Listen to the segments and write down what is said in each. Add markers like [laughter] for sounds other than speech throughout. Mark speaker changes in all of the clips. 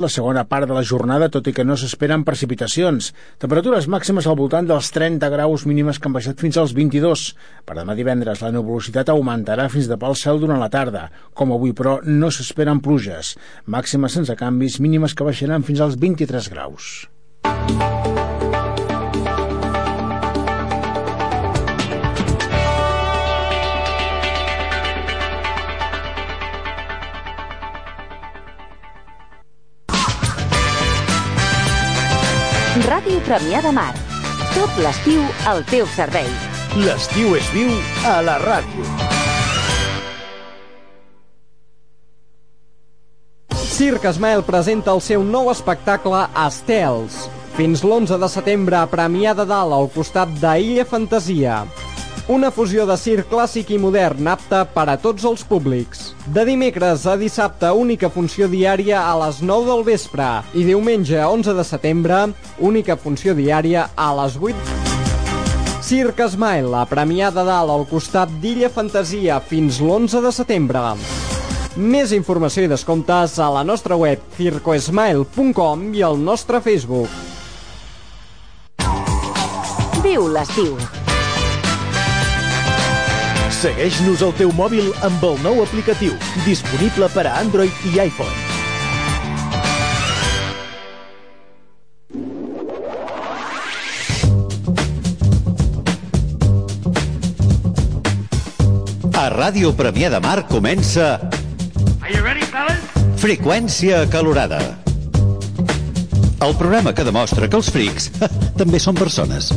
Speaker 1: La segona part de la jornada, tot i que no s'esperen precipitacions. Temperatures màximes al voltant dels 30 graus mínimes que han baixat fins als 22. Per demà divendres la nuvolositat augmentarà fins de pel cel durant la tarda. Com avui, però, no s'esperen pluges. Màximes sense canvis, mínimes que baixaran fins als 23 graus.
Speaker 2: Ràdio Premià de Mar. Tot l'estiu al teu servei.
Speaker 3: L'estiu és viu a la ràdio.
Speaker 4: Circ Esmael presenta el seu nou espectacle Estels. Fins l'11 de setembre a Premià de Dalt, al costat d'Illa Fantasia. Una fusió de circ clàssic i modern apta per a tots els públics. De dimecres a dissabte, única funció diària a les 9 del vespre. I diumenge, 11 de setembre, única funció diària a les 8. Circ Esmail, a Premià de Dalt, al costat d'Illa Fantasia, fins l'11 de setembre. Més informació i descomptes a la nostra web circoesmail.com i al nostre Facebook.
Speaker 2: Viu l'estiu.
Speaker 3: Segueix-nos al teu mòbil amb el nou aplicatiu, disponible per a Android i iPhone.
Speaker 5: A Ràdio Premià de Mar comença
Speaker 6: Are you ready, fellas?
Speaker 5: Freqüència Calorada. El programa que demostra que els frics [laughs] també són persones.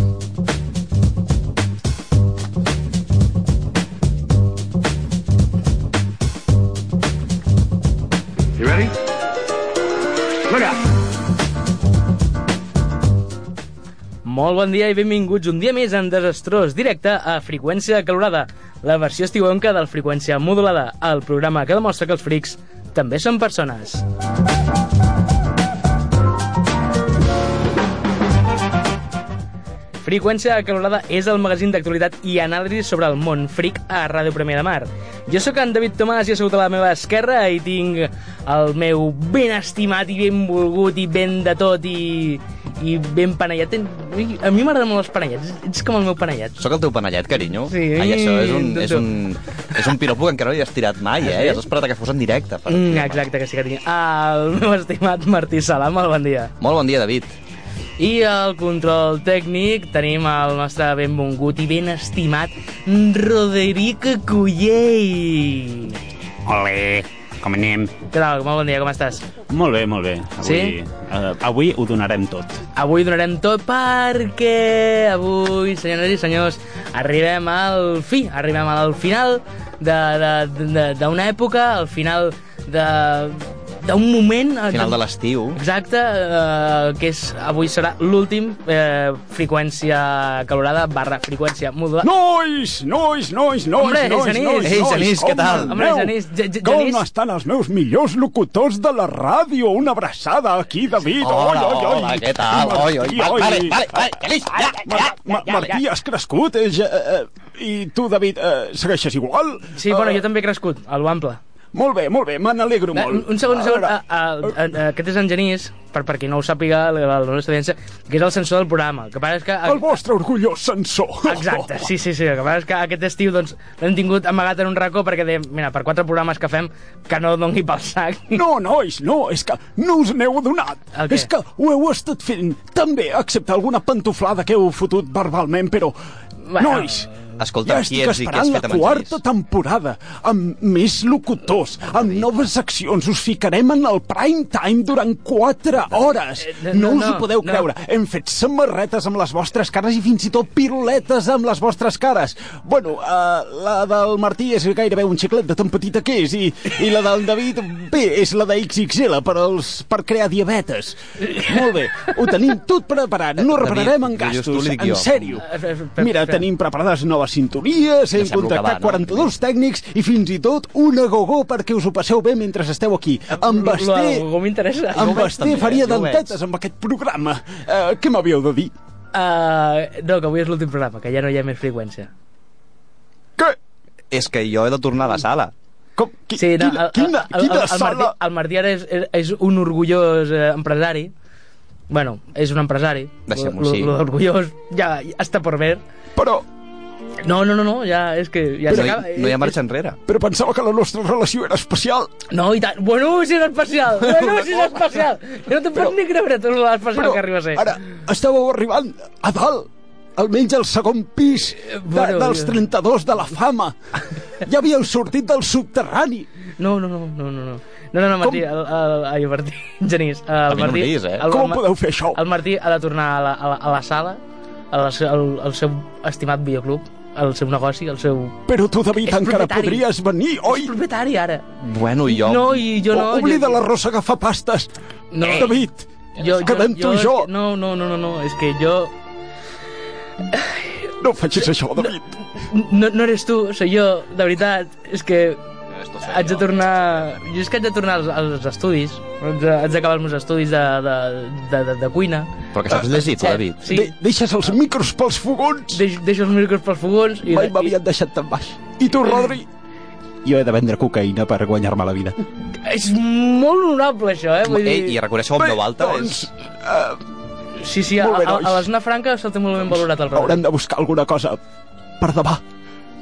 Speaker 6: You ready? Look out.
Speaker 7: Molt bon dia i benvinguts un dia més en Desastrós, directe a Freqüència Calorada, la versió estiuenca del Freqüència Modulada, el programa que demostra que els frics també són persones. Freqüència Calorada és el magazín d'actualitat i anàlisi sobre el món fric a Ràdio Premià de Mar. Jo sóc en David Tomàs i assegut a la meva esquerra i tinc el meu ben estimat i ben volgut i ben de tot i, i ben panellat. Ui, A mi m'agraden molt els panellats, ets com el meu panellat.
Speaker 8: Sóc el teu panellet, carinyo.
Speaker 7: Sí.
Speaker 8: Ai, això és un,
Speaker 7: Tu- Ah,
Speaker 8: és un, és un piropo que encara no li has tirat mai, eh? Has esperat a que fos en directe. Per
Speaker 7: Mm, exacte, que sí que tinc. El meu estimat Martí Salam, molt bon dia.
Speaker 8: Molt bon dia, David.
Speaker 7: I al control tècnic tenim el nostre benvingut i ben estimat Roderic Cullell.
Speaker 9: Olé, com anem?
Speaker 7: Què tal? Molt bon dia, com estàs?
Speaker 9: Molt bé, molt bé. Avui,
Speaker 7: Sí?
Speaker 9: eh, avui ho donarem tot.
Speaker 7: Avui donarem tot perquè avui, senyores i senyors, arribem al fi, arribem al final de- de- de- d'una època, al final de d'un moment... eh,
Speaker 8: Final
Speaker 7: que-
Speaker 8: de l'estiu.
Speaker 7: Exacte, eh, que és, avui serà l'últim eh, freqüència calorada barra freqüència modulada.
Speaker 10: Nois, nois, nois, nois,
Speaker 7: Hombre,
Speaker 10: nois,
Speaker 7: Genís.
Speaker 10: nois,
Speaker 8: Ei,
Speaker 10: nois,
Speaker 8: Genís,
Speaker 10: com
Speaker 8: què tal?
Speaker 10: aneu?
Speaker 7: Hombre, Genís, Ge- Ge-
Speaker 10: Com
Speaker 7: Genís.
Speaker 10: estan els meus millors locutors de la ràdio? Una abraçada aquí, David.
Speaker 8: Hola,
Speaker 10: oi, oi, oi.
Speaker 8: hola, què tal? Oi, oi. Va, vale, vale, vale, Genís, ja,
Speaker 10: Ma-
Speaker 8: ja,
Speaker 10: Ma-
Speaker 8: ja,
Speaker 10: Martí,
Speaker 8: ja.
Speaker 10: has crescut? Eh, ja, eh, I tu, David, eh, segueixes igual?
Speaker 7: Sí,
Speaker 10: Eh,
Speaker 7: bueno, jo també he crescut, a l'Ample.
Speaker 10: Molt bé, molt bé, me n'alegro
Speaker 7: Eh,
Speaker 10: molt.
Speaker 7: Un, un segon, un segon.
Speaker 10: A
Speaker 7: A,
Speaker 8: Ah,
Speaker 10: veure,
Speaker 7: a, a, a, aquest és en Genís, per, per qui no ho sàpiga, la, la nostra audiència, que és el censor del programa. El que passa és que...
Speaker 10: El vostre orgullós censor.
Speaker 7: Exacte, sí, sí, sí. El que passa és que aquest estiu doncs, l'hem tingut amagat en un racó perquè dèiem, mira, per quatre programes que fem, que no doni pel sac.
Speaker 10: [laughs] No, nois, no, és que no us n'heu adonat.
Speaker 7: El què?
Speaker 10: És que ho heu estat fent també, excepte alguna pantuflada que heu fotut verbalment, però...
Speaker 7: Bueno,
Speaker 10: nois,
Speaker 8: Escolta,
Speaker 10: ja
Speaker 8: qui
Speaker 10: estic
Speaker 8: ets i què has
Speaker 10: esperant la
Speaker 8: fet amb en
Speaker 10: quarta
Speaker 8: Genís?
Speaker 10: temporada, amb més locutors, amb noves seccions. Us ficarem en el prime time durant 4 hores.
Speaker 7: eh, no,
Speaker 10: No us
Speaker 7: no,
Speaker 10: ho podeu
Speaker 7: no.
Speaker 10: creure. Hem fet samarretes amb les vostres cares i fins i tot piruletes amb les vostres cares. Bueno, eh, la del Martí és gairebé un xiclet de tan petita que és i, i la del David, bé, és la de XXL per, als, per crear diabetes. Molt bé, ho tenim tot preparat. No
Speaker 8: David,
Speaker 10: repararem en
Speaker 8: jo just
Speaker 10: gastos,
Speaker 8: li dic
Speaker 10: en
Speaker 8: jo.
Speaker 10: sèrio.
Speaker 7: Eh, eh, eh,
Speaker 10: Mira,
Speaker 7: eh,
Speaker 10: tenim preparades noves sintonies, hem
Speaker 8: sembla
Speaker 10: contractat
Speaker 8: que va, no?
Speaker 10: 42 tècnics i fins i tot una gogó perquè us ho passeu bé mentre esteu aquí.
Speaker 7: Eh,
Speaker 10: Amb Basté...
Speaker 7: Algú m'interessa.
Speaker 10: Em
Speaker 8: Jo ho veig
Speaker 10: Basté
Speaker 8: també,
Speaker 10: faria
Speaker 8: jo ho veig.
Speaker 10: dentetes amb aquest programa. Eh, què m'havíeu de dir?
Speaker 7: Uh, no, que avui és l'últim programa, que ja no hi ha més freqüència.
Speaker 10: Què?
Speaker 8: És que jo he de tornar a la sala.
Speaker 10: Com, qui, sí, no, quina, quina,
Speaker 7: el, el,
Speaker 10: quina
Speaker 7: el, el, Martí,
Speaker 10: sala...
Speaker 7: el Martí ara és, és- és un orgullós eh, empresari. Bueno, és un empresari.
Speaker 8: Deixem-ho
Speaker 7: Lo-
Speaker 8: així.
Speaker 7: lo- L'orgullós ja, ja està per ver.
Speaker 10: Però,
Speaker 7: No, no, no, no, ja és que ja
Speaker 8: No hi,
Speaker 7: s'acaba. Eh,
Speaker 8: no hi ha marxa enrere.
Speaker 10: però pensava que la nostra relació era especial.
Speaker 7: No, i tant. Bueno, si és
Speaker 8: [laughs]
Speaker 7: especial. Bueno, si és especial. Jo no te'n pots ni creure tot l'especial
Speaker 10: Però
Speaker 7: que arriba a ser.
Speaker 10: ara estàveu arribant a dalt, almenys al segon pis de,
Speaker 7: Eh, bueno,
Speaker 10: dels
Speaker 7: jo-
Speaker 10: 32 de la fama. Ja havíeu sortit del subterrani.
Speaker 7: No, no, no, no, no. no. No, no, no, Martí, el, el, ai, el Martí, [laughs] en Genís, el
Speaker 8: mi no em
Speaker 7: Martí,
Speaker 8: diguis, eh?
Speaker 7: el,
Speaker 10: Com
Speaker 7: Ma-
Speaker 10: podeu fer això?
Speaker 7: El Martí ha de tornar a la, a la, a la sala, a la, se- al, al seu estimat videoclub, al seu negoci, al seu...
Speaker 10: Però tu, David,
Speaker 7: És
Speaker 10: encara
Speaker 7: propietari.
Speaker 10: podries venir, oi?
Speaker 7: És propietari, ara.
Speaker 8: Bueno, i jo...
Speaker 7: No, i jo no...
Speaker 10: O- Oblida
Speaker 7: jo,
Speaker 10: la rosa que fa pastes.
Speaker 7: No.
Speaker 10: David, quedem tu i
Speaker 7: és
Speaker 10: jo.
Speaker 7: que- No, no, no, no, no, és que jo...
Speaker 10: No facis això, David.
Speaker 7: No, no eres tu, soy jo, de veritat. És que haig de tornar... Jo és que haig de tornar als, als estudis. Haig de- haig d'acabar els meus estudis de, de, de, de, de cuina.
Speaker 8: Però que saps llegir, tu, David.
Speaker 7: Sí.
Speaker 10: De deixes els micros pels fogons.
Speaker 7: Deix, deixo els micros pels fogons i...
Speaker 10: Mai m'havien deixat tan baix. I tu, Rodri? Jo he de vendre cocaïna per guanyar-me la vida.
Speaker 7: És molt honorable, això, eh? Vull dir...
Speaker 8: Ei, i reconèixer-ho amb veu alta és...
Speaker 10: doncs,
Speaker 7: Sí, sí, a,
Speaker 10: Molt bé,
Speaker 7: a,
Speaker 10: nois.
Speaker 7: a l'Esna Franca se'l té molt ben valorat el Rodri.
Speaker 10: haurem de buscar alguna cosa per demà.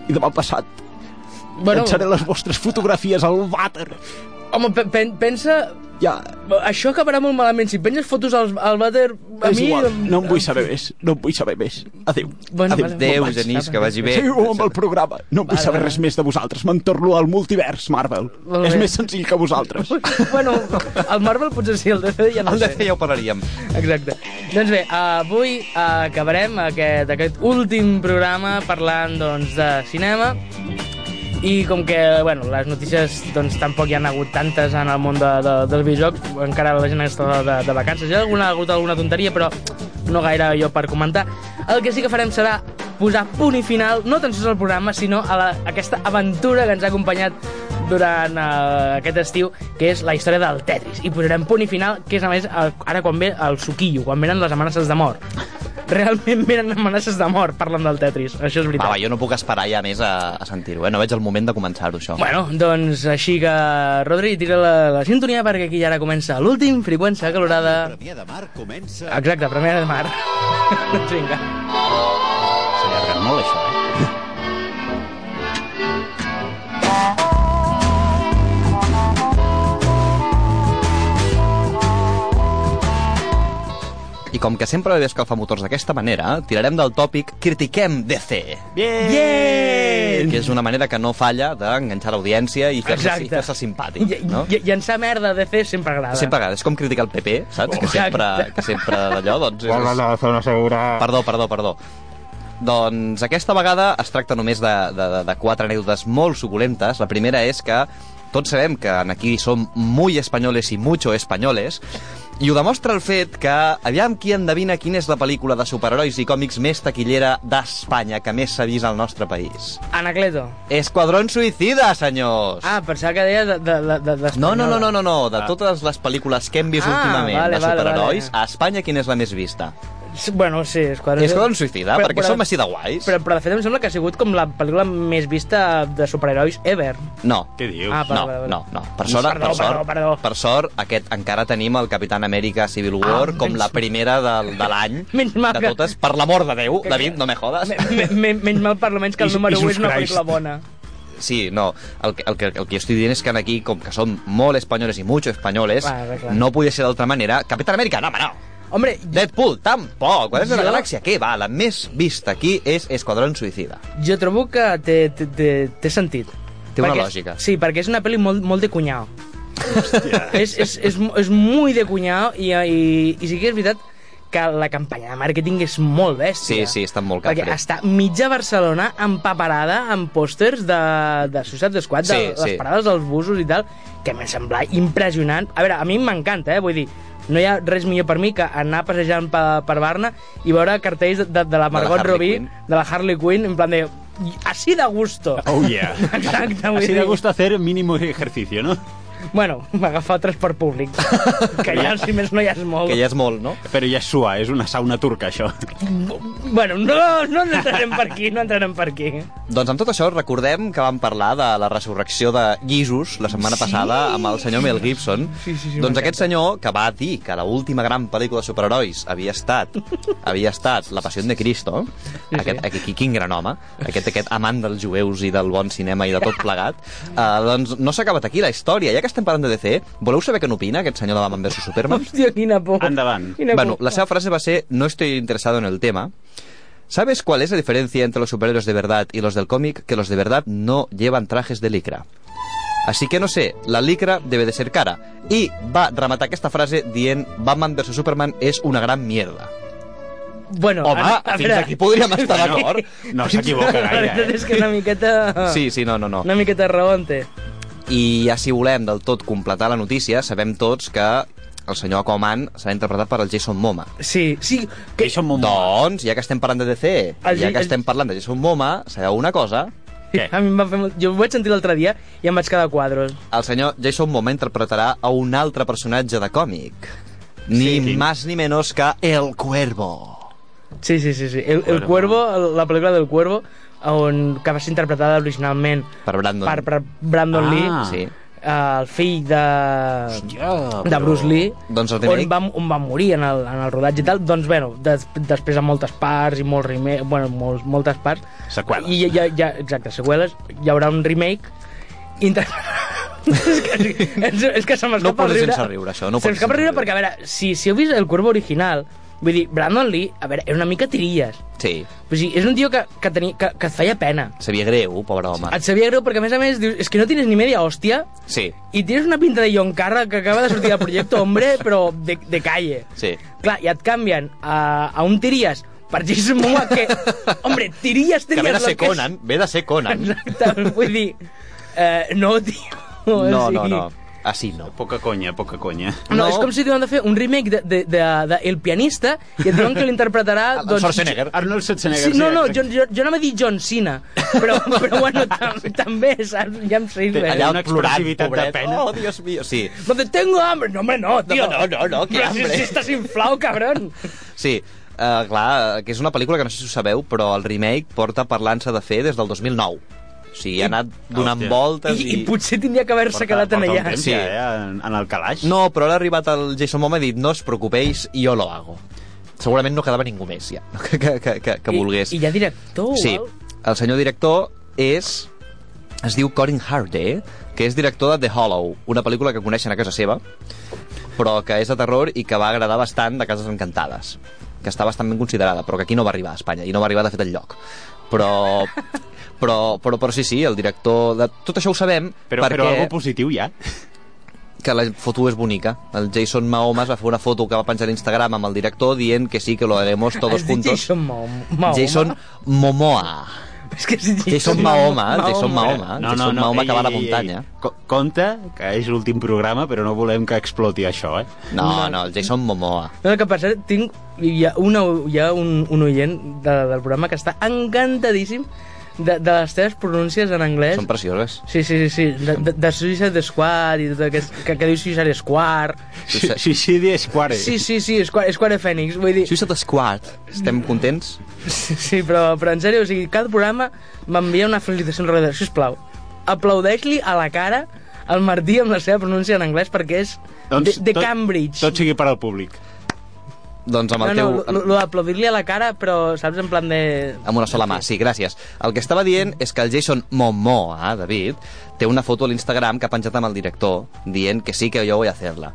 Speaker 10: I demà passat bueno.
Speaker 7: Bueno,
Speaker 10: llançaré les vostres fotografies al vàter.
Speaker 7: home, pe- pen, pensa...
Speaker 10: Ja,
Speaker 7: Això acabarà molt malament. Si penses fotos al, al vàter... A
Speaker 10: és
Speaker 7: mi...
Speaker 10: igual, no en vull saber més. No en vull saber més. Adéu.
Speaker 7: Bueno,
Speaker 10: Adéu,
Speaker 7: vale.
Speaker 8: Déu,
Speaker 7: Bon maig.
Speaker 8: Genís, que vagi bé.
Speaker 10: Adéu amb el programa. No en vull
Speaker 7: Vale,
Speaker 10: saber
Speaker 7: vale.
Speaker 10: res més de vosaltres. Me'n torno al multivers, Marvel.
Speaker 7: Molt
Speaker 10: És
Speaker 7: bé.
Speaker 10: més senzill que vosaltres.
Speaker 7: [laughs] bueno, el Marvel potser sí, el DC ja no
Speaker 8: El
Speaker 7: sé.
Speaker 8: de fer ja ho parlaríem.
Speaker 7: Exacte. Doncs bé, avui eh, acabarem aquest, aquest últim programa parlant doncs, de cinema i com que bueno, les notícies doncs, tampoc hi ha hagut tantes en el món de, de, dels videojocs, encara la gent està de, de vacances, hi ha alguna, ha hagut alguna tonteria, però no gaire jo per comentar. El que sí que farem serà posar punt i final, no tan sols al programa, sinó a, la, a aquesta aventura que ens ha acompanyat durant eh, aquest estiu, que és la història del Tetris. I posarem punt i final, que és a més el, ara quan ve el suquillo, quan venen les amenaces de mort. Realment venen amenaces de mort parlant del Tetris, això és veritat.
Speaker 8: Va, va, jo no puc esperar ja més a, a sentir-ho, eh? No veig el moment de començar-ho, això.
Speaker 7: Bueno, doncs així que, Rodri, tira la, la sintonia perquè aquí ja ara comença l'últim freqüència calorada.
Speaker 5: Premià de Mar comença...
Speaker 7: Exacte, Premià de Mar. [laughs] doncs vinga.
Speaker 8: S'ha allargat molt, això, eh? I com que sempre ve escalfar motors d'aquesta manera, tirarem del tòpic Critiquem DC,
Speaker 7: Yeah!
Speaker 8: que és una manera que no falla d'enganxar l'audiència i fer-se
Speaker 7: Exacte.
Speaker 8: fer simpàtic, no?
Speaker 7: I, i, llançar merda de fer sempre agrada.
Speaker 8: Sempre agrada, és com criticar el PP, saps? Que sempre, que sempre d'allò, doncs... És...
Speaker 9: Hola, la zona segura...
Speaker 8: Perdó, perdó, perdó. Doncs aquesta vegada es tracta només de, de, de, de quatre anècdotes molt suculentes. La primera és que tots sabem que en aquí som muy españoles i mucho españoles, i ho demostra el fet que aviam qui endevina quina és la pel·lícula de superherois i còmics més taquillera d'Espanya que més s'ha vist al nostre país.
Speaker 7: Anacleto.
Speaker 8: Esquadrón Suïcida, senyors!
Speaker 7: Ah, pensava que deies de, de, de, de,
Speaker 8: No,
Speaker 7: d'Espanyola.
Speaker 8: no, no, no, no, no, de totes les pel·lícules que hem vist
Speaker 7: Ah,
Speaker 8: últimament
Speaker 7: vale,
Speaker 8: de
Speaker 7: vale,
Speaker 8: superherois,
Speaker 7: vale.
Speaker 8: a Espanya quina és la més vista?
Speaker 7: S- Bueno, sí, Esquadron...
Speaker 8: Esquadrón Suïcida,
Speaker 7: Però-
Speaker 8: perquè
Speaker 7: però-
Speaker 8: som així de guais.
Speaker 7: Però, però de fet em sembla que ha sigut com la pel·lícula més vista de superherois ever.
Speaker 8: No.
Speaker 9: Què dius?
Speaker 7: Ah,
Speaker 8: No,
Speaker 7: Vale, vale.
Speaker 8: no, no. Per sort,
Speaker 7: Perdó,
Speaker 8: per sort,
Speaker 7: perdó, perdó.
Speaker 8: per sort aquest, encara tenim el Capitán Amèrica Civil War
Speaker 7: Ah,
Speaker 8: com
Speaker 7: menys-
Speaker 8: la primera de, de l'any
Speaker 7: [laughs] Menys mal
Speaker 8: de
Speaker 7: que-
Speaker 8: totes. Per l'amor de Déu, David, no me jodes.
Speaker 7: Me- me- Menys mal, per almenys, que el
Speaker 10: Is-
Speaker 7: número 1
Speaker 10: Jesus
Speaker 7: és una
Speaker 10: Christ.
Speaker 7: pel·lícula bona.
Speaker 8: Sí, no, el, que- el, que, el que jo estic dient és que aquí, com que som molt espanyoles i mucho espanyoles,
Speaker 7: Vale, clar.
Speaker 8: no podia ser d'altra manera. Capitán Amèrica, no, home, no.
Speaker 7: Hombre,
Speaker 8: Deadpool, tampoc. Guardians de la
Speaker 7: Jo-
Speaker 8: Galàxia, què va? La més vista aquí és Esquadrón Suïcida.
Speaker 7: jo trobo que té, té, té, té sentit.
Speaker 8: Té una
Speaker 7: perquè,
Speaker 8: lògica.
Speaker 7: Sí, perquè és una pel·li molt, molt de cunyau. és, és, és, mo- és molt de cunyau i, i, i sí que és veritat que la campanya de màrqueting és molt
Speaker 8: Sí,
Speaker 7: bèstia.
Speaker 8: sí, estan molt
Speaker 7: Perquè
Speaker 8: cafres.
Speaker 7: està mitja Barcelona empaparada amb pòsters de, de Suicide Squad, de
Speaker 8: Sí,
Speaker 7: les
Speaker 8: sí.
Speaker 7: parades dels busos i tal, que m'ha semblat impressionant. A veure, a mi m'encanta, eh? Vull dir, no hi ha res millor per mi que anar passejant per, per Barna i veure cartells de, de, de la Margot
Speaker 8: Harley
Speaker 7: Robbie,
Speaker 8: Quinn.
Speaker 7: de la Harley Quinn, en plan de... "I- Així de gusto.
Speaker 9: Oh, yeah.
Speaker 7: [laughs] Exacte, vull
Speaker 9: Así
Speaker 7: dir...
Speaker 9: de gusto hacer mínimo ejercicio, ¿no?
Speaker 7: Bueno, va agafar el transport [laughs] públic. que ja, si més no, ja és molt.
Speaker 8: Que ja és molt, no?
Speaker 9: Però ja és sua, és una sauna turca, això.
Speaker 7: Bueno, no, no entrarem per aquí, no entrarem per aquí.
Speaker 8: Doncs amb tot això recordem que vam parlar de la resurrecció de Llisus la setmana
Speaker 7: Sí.
Speaker 8: passada amb el senyor Mel Gibson.
Speaker 7: Sí, sí, sí,
Speaker 8: doncs
Speaker 7: m'encanta.
Speaker 8: aquest senyor que va dir que la última gran pel·lícula de superherois
Speaker 7: [laughs]
Speaker 8: havia estat havia estat La passió de Cristo, aquest, aquest, quin gran home, aquest, aquest amant dels jueus i del bon cinema i de
Speaker 7: [laughs]
Speaker 8: tot plegat, uh, doncs no s'ha acabat aquí la història. Ja que estem parlant de DC, voleu saber què n'opina aquest senyor de Batman vs Superman?
Speaker 7: Hòstia, quina por.
Speaker 9: Endavant.
Speaker 7: Quina
Speaker 8: bueno,
Speaker 7: por.
Speaker 8: la seva frase va ser no estoy interesado en el tema. ¿Sabes cuál es la diferencia entre los superhéroes de verdad y los del cómic? Que los de verdad no llevan trajes de licra. Así que no sé, la licra debe de ser cara. I va rematar aquesta frase dient Batman vs Superman és una gran mierda.
Speaker 7: Bueno,
Speaker 8: Home, fins aquí podríem estar d'acord.
Speaker 9: No s'equivoca
Speaker 7: La
Speaker 9: gaire,
Speaker 7: veritat
Speaker 9: eh?
Speaker 7: és que una miqueta...
Speaker 8: Sí, sí, no, no, no.
Speaker 7: Una miqueta raonte.
Speaker 8: I ja si volem del tot completar la notícia, sabem tots que el senyor Aquaman serà interpretat per el Jason Momoa.
Speaker 7: Sí, sí, que...
Speaker 9: Això m'ho
Speaker 8: Doncs, ja que estem parlant de DC,
Speaker 7: El
Speaker 8: ja
Speaker 7: Gi-
Speaker 8: que
Speaker 7: el-
Speaker 8: estem parlant de Jason Momoa, sabeu una cosa?
Speaker 9: Què?
Speaker 7: A mi em va fer molt... Jo ho vaig sentir l'altre dia i em vaig quedar a quadros.
Speaker 8: el senyor Jason Momoa interpretarà a un altre personatge de còmic. Ni
Speaker 9: Sí,
Speaker 8: sí,
Speaker 9: quin?
Speaker 8: más ni menos que El Cuervo.
Speaker 7: Sí, sí, sí. sí. El, el Cuervo, el- la pel·lícula del Cuervo, on, que va ser interpretada originalment
Speaker 8: Per Brandon.
Speaker 7: per, per Brandon
Speaker 9: Ah.
Speaker 7: Lee,
Speaker 8: Sí.
Speaker 7: eh, el fill de,
Speaker 10: Hòstia,
Speaker 7: de Bruce Lee,
Speaker 8: Doncs el
Speaker 7: on,
Speaker 8: remake-
Speaker 7: va, on va morir en el, en el rodatge i tal. Doncs, bueno, des, després a moltes parts i molts remake, bueno, molts, moltes parts.
Speaker 9: Seqüeles.
Speaker 7: I ja, ja, exacte, seqüeles. Hi haurà un remake inter... [laughs] és, que, és, és que se
Speaker 8: No
Speaker 7: m'escapa
Speaker 8: pots
Speaker 7: el riure.
Speaker 8: sense riure, això, no
Speaker 7: se
Speaker 8: pots
Speaker 7: m'escapa el riure
Speaker 8: sense riure.
Speaker 7: perquè, a veure, si, si heu vist el Cuervo original, vull dir, Brandon Lee, a veure, era una mica tirilles.
Speaker 8: Sí,
Speaker 7: O sigui, és un tio que, que, tenia, que, que et feia pena.
Speaker 8: sabia greu, pobre home.
Speaker 7: Et sabia greu perquè, a més a més, dius, és que no tens ni media hòstia
Speaker 8: Sí,
Speaker 7: i tens una pinta de John Carra que acaba de sortir del projecte
Speaker 8: [laughs]
Speaker 7: Hombre, però de, de calle.
Speaker 8: sí.
Speaker 7: Clar, i et canvien a, a un Tirías per Jason Momoa
Speaker 8: [laughs]
Speaker 7: que... Hombre, Tirías,
Speaker 8: Que
Speaker 7: Tirías...
Speaker 8: ve de ser
Speaker 7: lo que és.
Speaker 8: Conan, ve de ser Conan.
Speaker 7: Exacte, vull dir... Eh, [laughs] no, tio. o
Speaker 8: No,
Speaker 7: sigui,
Speaker 8: no, no. Així no.
Speaker 9: Poca conya, poca conya.
Speaker 7: No, és com si diuen de fer un remake de, de, de, de El pianista i et diuen que
Speaker 8: [laughs]
Speaker 7: l'interpretarà...
Speaker 8: El Schwarzenegger.
Speaker 9: Arnold Schwarzenegger.
Speaker 7: doncs, Sí, no, no,
Speaker 9: exacte.
Speaker 7: jo, jo, jo anava a dir John Cena,
Speaker 8: [laughs]
Speaker 7: però, però bueno, tam, també, saps? Ja em sé
Speaker 9: Té allà
Speaker 7: res.
Speaker 8: Allà
Speaker 9: una
Speaker 8: plorant,
Speaker 9: expressivitat de
Speaker 8: pobret.
Speaker 9: pena.
Speaker 8: Oh, Dios mío, sí.
Speaker 7: No te tengo hambre. No, home, no, tío.
Speaker 8: No, no, no, qué
Speaker 7: Però
Speaker 8: hambre.
Speaker 7: Si, si estàs inflau, cabrón.
Speaker 8: Sí, uh, clar, que és una pel·lícula que no sé si ho sabeu, però el remake porta parlant-se de fer des del 2009. O sigui, ha anat donant
Speaker 9: Hòstia.
Speaker 8: voltes
Speaker 7: I, I potser tindria que haver-se quedat
Speaker 9: Porta un
Speaker 7: en allà.
Speaker 9: temps
Speaker 8: Sí.
Speaker 9: ja, eh, en, en el calaix.
Speaker 8: No, però ara ha arribat el Jason Momoa i ha dit no us preocupéis, jo lo hago. Segurament no quedava ningú més, ja, [laughs] que, que, que, que, que volgués.
Speaker 7: I, I hi ha director.
Speaker 8: sí,
Speaker 7: val?
Speaker 8: el senyor director és... Es diu Corin Hardy, que és director de The Hollow, una pel·lícula que coneixen a casa seva, però que és de terror i que va agradar bastant de Cases Encantades, que està bastant ben considerada, però que aquí no va arribar a Espanya, i no va arribar, de fet, lloc.
Speaker 7: [laughs]
Speaker 8: Però... Però, però, però sí, sí, el director... De... Tot això ho sabem
Speaker 9: Però,
Speaker 8: perquè...
Speaker 9: però algo positiu ja.
Speaker 8: que la foto és bonica. El Jason Mahomes va fer una foto que va penjar a Instagram amb el director dient que sí, que lo haremos todos
Speaker 7: Has dit
Speaker 8: juntos.
Speaker 7: Jason Mahoma. Mahoma.
Speaker 8: Jason Momoa.
Speaker 7: [laughs] És que sí,
Speaker 8: Jason Mahoma, eh? Jason Mahoma.
Speaker 9: No, no,
Speaker 8: Jason
Speaker 9: no.
Speaker 8: Mahoma
Speaker 9: ei,
Speaker 8: que va a la
Speaker 9: ei, ei,
Speaker 8: muntanya.
Speaker 9: ei. Co- Compte que és l'últim programa, però no volem que exploti això, eh?
Speaker 8: No, no, el Jason Momoa.
Speaker 7: No, el que passa, tinc, hi ha, una, hi ha un, un oient de, del programa que està encantadíssim de, de les teves pronúncies en anglès.
Speaker 8: Són precioses.
Speaker 7: Sí, sí, sí, sí. De, de, de Suicide Squad i tot aquest... Que, que diu Suicide Squad.
Speaker 9: Sí, sí, sí, de Square.
Speaker 7: Sí, sí, sí, Squad, Squad Phoenix. Vull dir...
Speaker 8: Suicide Squad. Estem contents?
Speaker 7: Sí, sí però, però en sèrio, o sigui, cada programa m'envia una felicitació en roda. Sisplau, aplaudeix-li a la cara el Martí amb la seva pronúncia en anglès perquè és de, de
Speaker 9: tot-
Speaker 7: Cambridge.
Speaker 9: Tot sigui per al públic.
Speaker 8: Doncs amb
Speaker 7: no,
Speaker 8: el
Speaker 7: no,
Speaker 8: teu...
Speaker 7: lo- lo d'aplaudir-li a la cara, però saps, en plan de...
Speaker 8: amb una sola mà, sí, gràcies. El que estava dient és que el Jason Momoa, eh, David, té una foto a l'Instagram que ha penjat amb el director dient que sí, que jo vull hacerla.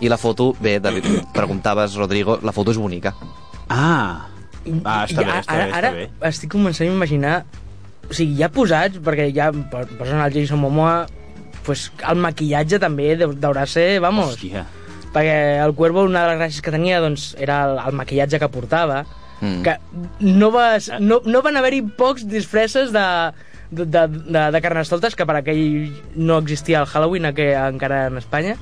Speaker 8: I la foto, bé, David, preguntaves, Rodrigo, la foto és bonica.
Speaker 9: Ah, ah està
Speaker 7: I
Speaker 9: bé,
Speaker 7: ara,
Speaker 9: està bé,
Speaker 7: ara,
Speaker 9: està bé.
Speaker 7: ara estic començant a imaginar... O sigui, ja posats, perquè ja per- posen el Jason Momoa, pues, el maquillatge també deu- deurà ser, vamos...
Speaker 9: Hòstia.
Speaker 7: perquè el Cuervo una de les gràcies que tenia doncs, era el, el maquillatge que portava
Speaker 8: Mm.
Speaker 7: mm. que no, vas, no, no van haver-hi pocs disfresses de, de, de, de, de carnestoltes que per aquell no existia el Halloween eh, que encara en Espanya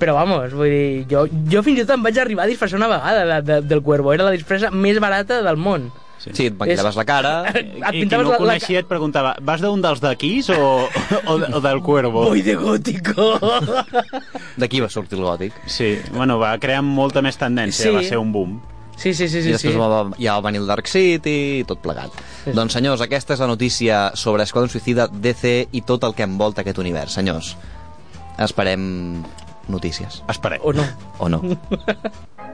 Speaker 7: però vamos, vull dir, jo, jo fins i tot em vaig arribar a disfressar una vegada de, de, del Cuervo, era la disfressa més barata del món
Speaker 8: Sí, sí et maquillaves la cara...
Speaker 9: I qui no ho coneixia et preguntava, vas d'un dels d'aquís o, o, o del Cuervo?
Speaker 7: Voy de gótico!
Speaker 8: D'aquí va sortir el gòtic.
Speaker 9: Sí, bueno, va crear molta més tendència,
Speaker 7: Sí.
Speaker 9: sí. va ser un boom.
Speaker 7: Sí, sí, sí,
Speaker 8: I
Speaker 7: sí. sí.
Speaker 8: després va, ja va venir el Dark City i tot plegat. Sí, sí. Doncs senyors, aquesta és la notícia sobre Esquadron Suicida, DC i tot el que envolta aquest univers, senyors. Esperem notícies.
Speaker 9: Esperem.
Speaker 7: O no.
Speaker 8: O no.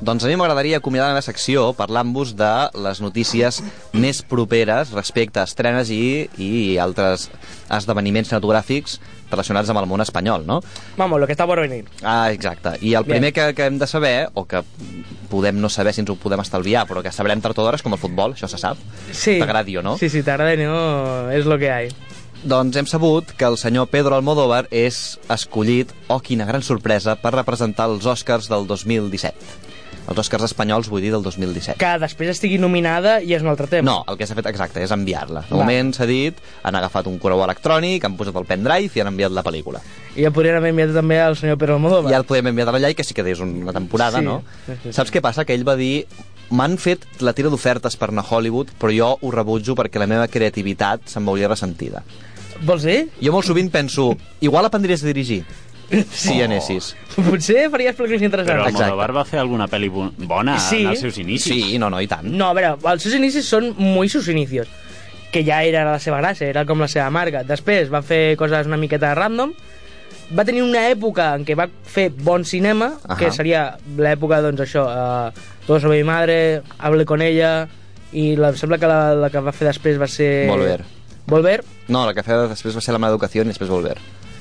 Speaker 8: Doncs a mi m'agradaria acomiadar la meva secció parlant-vos de les notícies més properes respecte a estrenes i, i altres esdeveniments cinematogràfics relacionats amb el món espanyol, no?
Speaker 7: Vamos, lo que está por venir.
Speaker 8: Ah, exacte. I el primer que, que hem de saber, o que podem no saber si ens ho podem estalviar, però que sabrem tard o d'hora, és com el futbol, això se sap.
Speaker 7: Sí.
Speaker 8: T'agradi o no?
Speaker 7: Sí, sí, t'agrada, no? És lo que hay.
Speaker 8: Doncs hem sabut que el senyor Pedro Almodóvar és escollit, oh, quina gran sorpresa, per representar els Oscars del 2017. Els Oscars espanyols, vull dir, del 2017.
Speaker 7: Que després estigui nominada i és un altre tema.
Speaker 8: No, el que s'ha fet exacte és enviar-la. De
Speaker 7: Va.
Speaker 8: moment s'ha dit, han agafat un correu electrònic, han posat el pendrive i han enviat la pel·lícula.
Speaker 7: I ja podrien haver enviat també al senyor Pedro Almodóvar.
Speaker 8: Ja el podem enviar allà i que sí que és una temporada,
Speaker 7: Sí.
Speaker 8: no?
Speaker 7: Sí, sí, sí.
Speaker 8: Saps què passa? Que ell va dir m'han fet la tira d'ofertes per anar a Hollywood, però jo ho rebutjo perquè la meva creativitat se'm veuria ressentida.
Speaker 7: Vols dir?
Speaker 8: Jo molt sovint penso, igual aprendries a dirigir, si hi anessis.
Speaker 7: Oh. Potser faries pel·lícules interessants.
Speaker 9: Però
Speaker 8: Exacte.
Speaker 9: Almodóvar va fer alguna pel·li bo- bona
Speaker 7: Sí.
Speaker 9: en els seus inicis.
Speaker 8: Sí, no, no, i tant.
Speaker 7: No, a veure, els seus inicis són muy sus inicios, que ja era la seva gràcia, era com la seva marca. Després va fer coses una miqueta random, va tenir una època en què va fer bon cinema, uh -huh.
Speaker 8: Ahà.
Speaker 7: que seria l'època, doncs això, uh, Todo sobre mi madre, Hable con ella, i la, em sembla que la, la que va fer després va ser...
Speaker 8: Volver.
Speaker 7: Volver?
Speaker 8: No, la que feia després va ser la meva educació i després volver.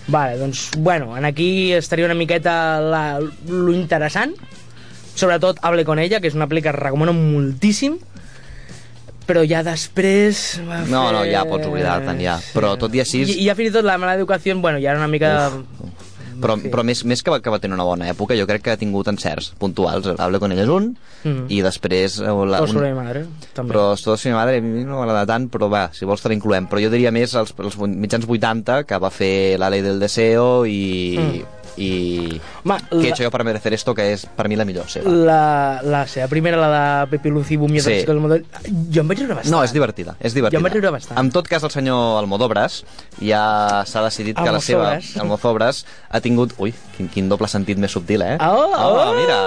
Speaker 7: Vale, doncs, bueno, en aquí estaria una miqueta la, lo interessant, sobretot Hable con ella, que és una pel·li que recomano moltíssim, però ja després... Va
Speaker 8: No,
Speaker 7: fer...
Speaker 8: no, ja pots oblidar-te'n, ja. Però tot i així...
Speaker 7: I, I ja fins i tot la mala educació, bueno, ja era una mica... Uf.
Speaker 8: Però,
Speaker 7: Sí.
Speaker 8: però més, més que, va, que va tenir una bona època, jo crec que ha tingut encerts puntuals. Hablo con ella és un,
Speaker 7: Mhm.
Speaker 8: i després... eh, La,
Speaker 7: La,
Speaker 8: un-
Speaker 7: sobre mi madre, també.
Speaker 8: Però Estudio de Madre a mi no m'agrada tant, però va, si vols te l'incloem. Però jo diria més als, als mitjans 80, que va fer La Ley del Deseo i... Mm. i
Speaker 7: Ma,
Speaker 8: que he
Speaker 7: la-
Speaker 8: hecho yo para merecer esto, que és per mi la millor seva.
Speaker 7: La, la seva primera, la de Pepi Lucy Bumia,
Speaker 8: Sí.
Speaker 7: sí. del model... ah, Jo em vaig riure bastant.
Speaker 8: No, és divertida, és divertida.
Speaker 7: Jo em vaig riure bastant.
Speaker 8: En tot cas, el senyor Almodobres ja s'ha decidit que la seva...
Speaker 7: Almozobres.
Speaker 8: Almozobres ha tingut... Ui, quin, quin doble sentit més subtil, eh?
Speaker 7: Ah, oh!
Speaker 8: mira!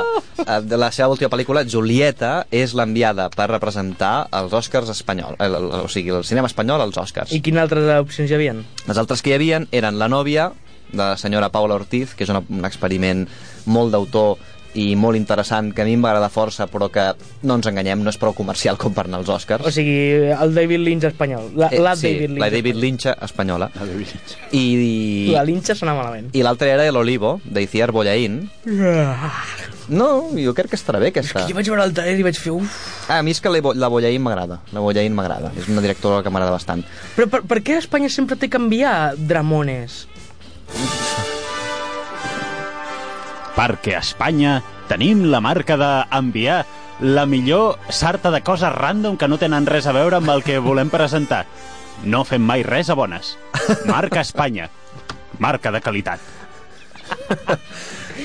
Speaker 8: Eh, De la seva última pel·lícula, Julieta, és l'enviada per representar els Oscars espanyol, el, el, o sigui, el cinema espanyol als Oscars.
Speaker 7: I quines altres opcions hi havia?
Speaker 8: Les altres que hi havien eren La nòvia, de la senyora Paula Ortiz, que és una, un experiment molt d'autor i molt interessant, que a mi em va agradar força, però que, no ens enganyem, no és prou comercial com per anar als Oscars.
Speaker 7: O sigui, el David Lynch espanyol. La,
Speaker 8: Eh,
Speaker 7: la
Speaker 8: sí,
Speaker 7: David Lynch.
Speaker 8: la David Lynch espanyola.
Speaker 9: La de Village.
Speaker 8: I,
Speaker 7: La Lynch sona malament.
Speaker 8: i l'altra era El Olivo, d'Iciar Bollaín. No, jo crec que estarà bé aquesta.
Speaker 7: Jo vaig veure el trailer i vaig fer... Uf.
Speaker 8: Ah, a mi és que la Bo- la Bollaín m'agrada. La Bollaín m'agrada. És una directora que m'agrada bastant.
Speaker 7: Però per, per què Espanya sempre té que enviar Dramones?
Speaker 9: Perquè a Espanya tenim la marca d'enviar la millor sarta de coses random que no tenen res a veure amb el que volem presentar. No fem mai res a bones. Marca Espanya. Marca de qualitat.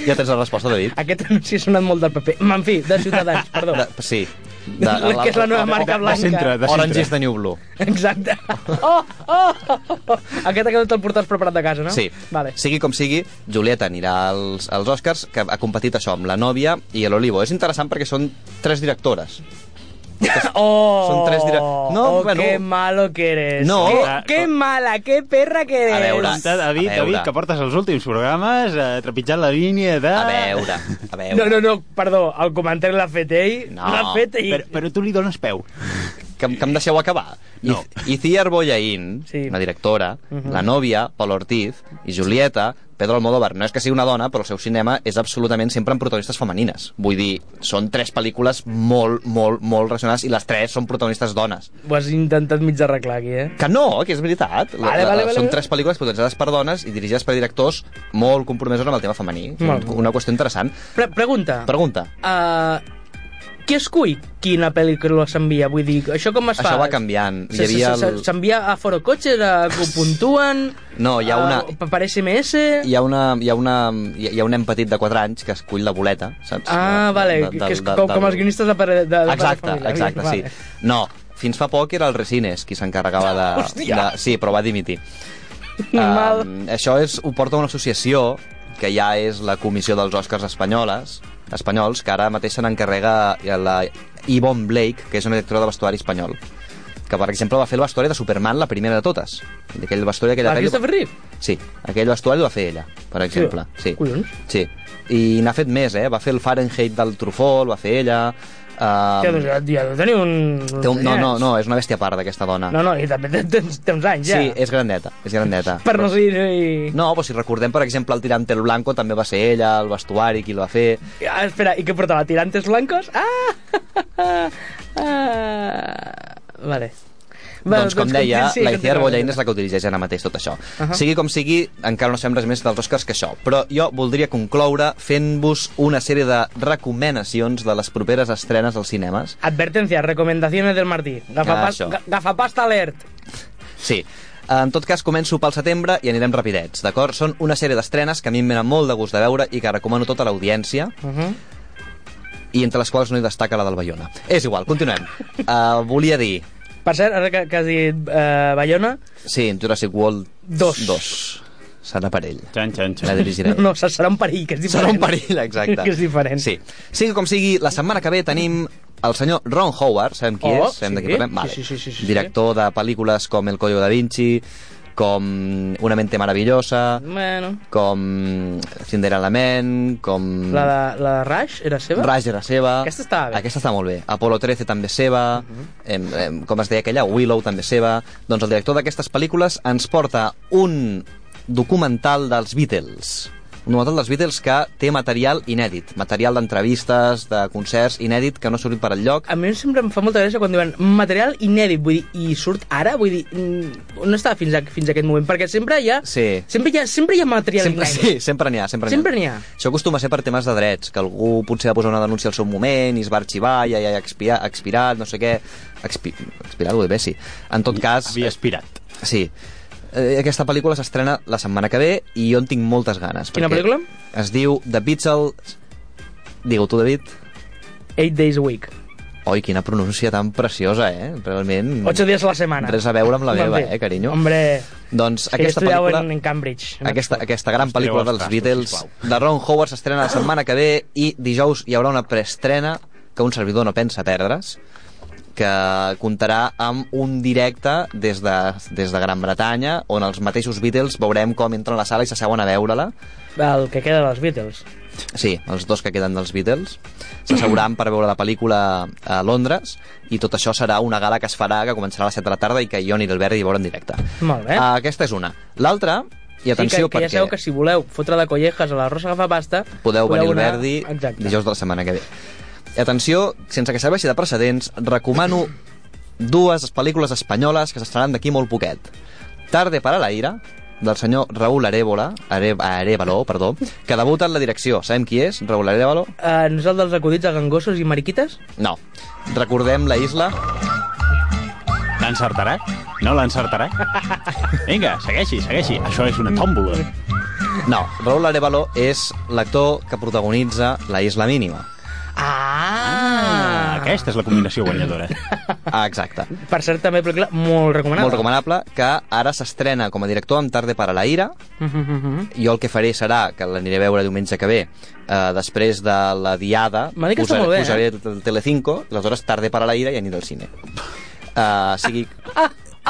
Speaker 8: Ja tens la resposta, David.
Speaker 7: Aquest [laughs] anunci ha sonat molt del PP. En fi, de
Speaker 8: [laughs]
Speaker 7: Ciutadans, perdó.
Speaker 8: De, sí. De,
Speaker 7: que és la nova marca blanca.
Speaker 9: centre, de
Speaker 8: Orange
Speaker 9: centre.
Speaker 8: is the New Blue.
Speaker 7: Exacte. Oh, oh, oh. Aquest aquest el portes preparat de casa, no?
Speaker 8: Sí.
Speaker 7: Vale.
Speaker 8: Sigui com sigui, Julieta anirà als, als Oscars, que ha competit això amb La Nòvia i l'Olivo. És interessant perquè són tres directores.
Speaker 7: Oh,
Speaker 8: Són tres dire- No,
Speaker 7: oh,
Speaker 8: bueno.
Speaker 7: qué malo que eres.
Speaker 8: No.
Speaker 7: Qué,
Speaker 9: Ah,
Speaker 7: qué mala, qué perra que eres.
Speaker 8: A veure.
Speaker 9: Compte, Eh. David,
Speaker 8: A veure.
Speaker 9: David, que portes els últims programes eh, trepitjant la línia de...
Speaker 8: A veure, a veure.
Speaker 7: No, no, no, perdó, el comentari l'ha fet ell.
Speaker 8: No,
Speaker 7: L'ha fet ell.
Speaker 9: Però, però tu li dones peu.
Speaker 8: que, que em deixeu acabar.
Speaker 9: No.
Speaker 8: I, i Ciar Boyaín,
Speaker 7: Sí. Mhm.
Speaker 8: sí. la directora, uh -huh. la nòvia, Paul Ortiz i Julieta, Pedro Almodóvar, no és que sigui una dona, però el seu cinema és absolutament sempre amb protagonistes femenines. Vull dir, són tres pel·lícules molt, molt, molt relacionades i les tres són protagonistes dones.
Speaker 7: Ho has intentat mig arreglar aquí, eh?
Speaker 8: Que no, que és veritat. La-
Speaker 7: Vale,
Speaker 8: la-
Speaker 7: vale, vale,
Speaker 8: són
Speaker 7: vale.
Speaker 8: tres pel·lícules protagonitzades per dones i dirigides per directors molt compromesos amb el tema femení.
Speaker 7: Molt bé.
Speaker 8: Una qüestió interessant.
Speaker 7: Pre Pregunta.
Speaker 8: Pregunta.
Speaker 7: Uh, qui es cuí quina pel·lícula s'envia? Vull dir, això com es fa?
Speaker 8: Això va canviant. Hi
Speaker 7: Se- se-
Speaker 8: havia
Speaker 7: se-
Speaker 8: el-
Speaker 7: S'envia a Foro Cotxe, a Puntuen...
Speaker 8: No, hi ha una-
Speaker 7: per SMS...
Speaker 8: Hi ha, una, hi, ha una, hi ha- hi ha un nen petit de 4 anys que es cull la boleta, saps?
Speaker 7: Ah, vale, que és com, com els guionistes de Pare de, de
Speaker 8: Exacte,
Speaker 7: Pare de Família.
Speaker 8: exacte, sí.
Speaker 7: Vale.
Speaker 8: No, fins fa poc era el Resines qui s'encarregava de, de...
Speaker 7: Hòstia!
Speaker 8: Sí, però va dimitir.
Speaker 7: Mal.
Speaker 8: Um, això és, ho porta una associació que ja és la Comissió dels Oscars Espanyoles, espanyols, que ara mateix se n'encarrega la Yvonne Blake, que és una directora de vestuari espanyol que, per exemple, va fer el vestuari de Superman, la primera de totes. Aquell vestuari, aquella
Speaker 7: La
Speaker 8: pel·li-
Speaker 7: Ah, Christopher Reeve?
Speaker 8: Sí, aquell vestuari el va fer ella, per exemple. Sí.
Speaker 7: collons.
Speaker 8: Sí. I n'ha fet més, eh? Va fer el Fahrenheit del Truffaut, el va fer ella... Um,
Speaker 7: Hòstia, doncs ja, ja deu tenir un...
Speaker 8: Té un, no, no, no, és una bèstia a part, aquesta dona.
Speaker 7: No, no, i també té, té, uns- té uns anys, ja.
Speaker 8: Sí, és grandeta, és grandeta.
Speaker 7: Per no
Speaker 8: Però-
Speaker 7: dir...
Speaker 8: No, però si recordem, per exemple, el tirante el blanco també va ser ella, el vestuari, qui el va fer...
Speaker 7: Ah, espera, i què portava? Tirantes blancos? Ah! [laughs] ah. Vale.
Speaker 8: Bueno, doncs, com deia,
Speaker 7: continu- sí,
Speaker 8: la
Speaker 7: continua,
Speaker 8: Iciar Bollain
Speaker 7: continua.
Speaker 8: és la que dirigeix ara mateix tot això. Uh
Speaker 7: Ahà.
Speaker 8: -huh. Sigui com sigui, encara no sabem res més dels Oscars que això, però jo voldria concloure fent-vos una sèrie de recomanacions de les properes estrenes als cinemes.
Speaker 7: Advertencia, recomendaciones del Martí. Gafapas,
Speaker 8: Això.
Speaker 7: ga- gafapasta alert.
Speaker 8: Sí. En tot cas, començo pel setembre i anirem rapidets, d'acord? Són una sèrie d'estrenes que a mi em venen molt de gust de veure i que recomano a tota l'audiència.
Speaker 7: Uh -huh.
Speaker 8: i entre les quals no hi destaca la del Bayona. És igual, continuem. Uh, volia dir...
Speaker 7: Per cert, ara que, que has dit uh, Bayona...
Speaker 8: Sí, Jurassic World
Speaker 7: Dos.
Speaker 8: 2. Serà per ell.
Speaker 9: Xan, xan, xan.
Speaker 8: La dirigiré.
Speaker 7: No, se- serà un perill, que és diferent.
Speaker 8: Serà un perill,
Speaker 7: [laughs]
Speaker 8: exacte.
Speaker 7: que és diferent.
Speaker 8: Sí. Sigui com sigui, la setmana que ve tenim el senyor Ron Howard, sabem qui
Speaker 7: Oh,
Speaker 8: és? Sabem de
Speaker 7: sí.
Speaker 8: qui
Speaker 7: Sí,
Speaker 8: parlem?
Speaker 7: sí, sí, sí, sí, sí.
Speaker 8: Director de pel·lícules com El Código da Vinci, com Una mente maravillosa,
Speaker 7: Bueno,
Speaker 8: com Cinderella Man, com...
Speaker 7: la de, la de Rush era seva?
Speaker 8: Rush era seva.
Speaker 7: Aquesta estava bé. Mhm.
Speaker 8: Aquesta està molt bé. Apolo 13 també és seva, em, em, com es deia aquella, Willow també és seva. Doncs el director d'aquestes pel·lícules ens porta un documental dels Beatles. Un documental dels Beatles que té material inèdit. Material d'entrevistes, de concerts inèdit que no ha sortit per enlloc.
Speaker 7: A mi sempre em fa molta gràcia quan diuen material inèdit, vull dir, i surt ara, vull dir, mm, no estava fins, a, fins a aquest moment, perquè sempre hi ha...
Speaker 8: Sí.
Speaker 7: Sempre hi ha, sempre hi ha material
Speaker 8: Sempre,
Speaker 7: inèdit.
Speaker 8: sí, sempre n'hi ha, sempre n'hi ha.
Speaker 7: Sempre n'hi ha.
Speaker 8: Això acostuma a ser per temes de drets, que algú potser va posar una denúncia al seu moment i es va arxivar, ja, ja, ja expira, expirat, no sé què... Expi, expirat, ho de bé, sí. En tot cas...
Speaker 9: Havia aspirat.
Speaker 8: Sí. Eh, aquesta pel·lícula s'estrena la setmana que ve i jo en tinc moltes ganes.
Speaker 7: Quina
Speaker 8: perquè
Speaker 7: pel·lícula?
Speaker 8: Es diu The Beatles... Digue-ho tu, David.
Speaker 7: Eight days a week.
Speaker 8: Oi, quina pronúncia tan preciosa, eh? Realment...
Speaker 7: Ocho dies a la setmana.
Speaker 8: Res a veure amb la
Speaker 7: Bon
Speaker 8: meva,
Speaker 7: dia.
Speaker 8: eh, carinyo?
Speaker 7: Hombre,
Speaker 8: Doncs
Speaker 7: és que
Speaker 8: aquesta
Speaker 7: estudiava
Speaker 8: pel·lícula...
Speaker 7: en, en Cambridge. en
Speaker 8: Aquesta,
Speaker 7: Oxford.
Speaker 8: aquesta gran pel·lícula
Speaker 9: Estireu els
Speaker 8: dels
Speaker 9: trastos,
Speaker 8: Beatles
Speaker 9: sisplau.
Speaker 8: de Ron Howard s'estrena la setmana que ve i dijous hi haurà una preestrena que un servidor no pensa perdre's que comptarà amb un directe des de, des de Gran Bretanya on els mateixos Beatles veurem com entren a la sala i s'asseuen a veure-la
Speaker 7: El que queda dels Beatles.
Speaker 8: Sí, els dos que queden dels Beatles s'asseuran per veure la pel·lícula a Londres i tot això serà una gala que es farà que començarà a les 7 de la tarda i que jo aniré al Verdi hi veure en directe.
Speaker 7: Molt bé.
Speaker 8: Ah, aquesta és una. L'altra, i atenció
Speaker 7: sí, que, que ja
Speaker 8: perquè
Speaker 7: sabeu que si voleu fotre de collejas a la Rosa Agafapasta...
Speaker 8: podeu venir al
Speaker 7: anar-
Speaker 8: Verdi
Speaker 7: Exacte.
Speaker 8: dijous de la setmana que ve. I atenció, sense que serveixi de precedents, recomano dues pel·lícules espanyoles que s'estaran d'aquí molt poquet. Tarde para la ira, del senyor Raúl Arevalo, Are, Arevalo perdó, que debuta en la direcció. Sabem qui és? Raúl Arevalo?
Speaker 7: Eh, no és el dels acudits a gangossos i mariquites?
Speaker 8: No. Recordem la isla.
Speaker 9: L'encertarà? No
Speaker 8: [laughs]
Speaker 9: l'encertarà? Vinga, segueixi, segueixi. Això és una tòmbola.
Speaker 8: No, Raúl Arevalo és l'actor que protagonitza la isla mínima.
Speaker 7: Ah!
Speaker 9: Aquesta és la combinació guanyadora.
Speaker 8: Ah, exacte.
Speaker 7: Per cert, també pel·lícula molt recomanada.
Speaker 8: Molt recomanable, que ara s'estrena com a director amb Tarde para la ira,
Speaker 7: Mhm, mhm.
Speaker 8: jo el que faré serà, que l'aniré a veure diumenge que ve, eh, després de la diada,
Speaker 7: M'ha dit que està molt bé,
Speaker 8: posaré
Speaker 7: eh?
Speaker 8: el Telecinco, aleshores tarde para la ira i aniré al cine. Uh, sigui,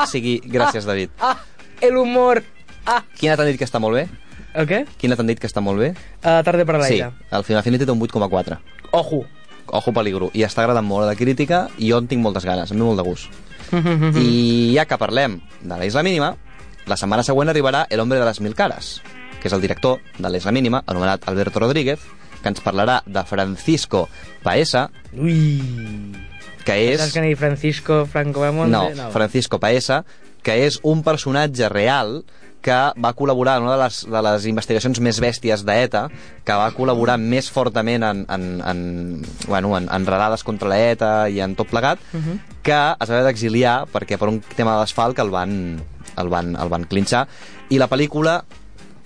Speaker 8: sigui... Gràcies, David.
Speaker 7: Ah, el humor! Ah!
Speaker 8: Quina t'han dit que està molt bé?
Speaker 7: El què?
Speaker 8: Quina t'han dit que està molt bé?
Speaker 7: A la tarda per a
Speaker 8: Sí,
Speaker 7: l'aire.
Speaker 8: el Film Affinity té un 8,4.
Speaker 7: Ojo.
Speaker 8: Ojo peligro. I està agradant molt a la crítica i jo en tinc moltes ganes, em ve molt de gust. I ja que parlem de la Isla Mínima, la setmana següent arribarà El hombre de les mil cares, que és el director de la Isla Mínima, anomenat Alberto Rodríguez, que ens parlarà de Francisco Paesa,
Speaker 7: Ui.
Speaker 8: que
Speaker 7: Saps
Speaker 8: és...
Speaker 7: que ni Francisco Franco Bamonte?
Speaker 8: No, Francisco Paesa, que és un personatge real que va col·laborar en una de les, de les investigacions més bèsties d'ETA, que va col·laborar més fortament en, en, en, bueno, en, en redades contra l'ETA i en tot plegat,
Speaker 11: Mhm.
Speaker 8: que es va haver d'exiliar perquè per un tema d'asfalt que el van, el, van, el van clinxar, i la pel·lícula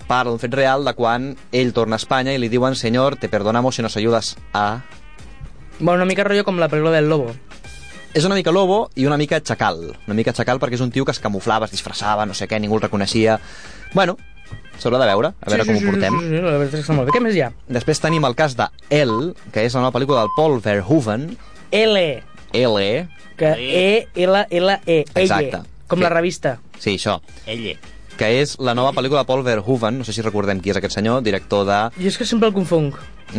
Speaker 8: parla un fet real de quan ell torna a Espanya i li diuen «Senyor, te perdonamos si nos ayudas a...»
Speaker 7: Bueno, una mica rotllo com la pel·lícula del Lobo.
Speaker 8: És una mica lobo i una mica xacal. Una mica xacal perquè és un tio que es camuflava, es disfressava, no sé què, ningú el reconeixia... Bueno, s'haurà de veure, a veure
Speaker 7: sí,
Speaker 8: com
Speaker 7: sí,
Speaker 8: ho portem.
Speaker 7: Sí, sí, sí, la veritat és que està molt bé. Què més hi ha?
Speaker 8: Després tenim el cas de L, que és la nova pel·lícula del Paul Verhoeven,
Speaker 7: L,
Speaker 8: L,
Speaker 7: que E, E-L-L-E,
Speaker 8: Exacte.
Speaker 7: Elle, com
Speaker 8: Sí.
Speaker 7: la revista.
Speaker 8: sí, això,
Speaker 9: Elle.
Speaker 8: que és la nova pel·lícula de Paul Verhoeven, no sé si recordem qui és aquest senyor, director de...
Speaker 7: Jo és que sempre el confonc,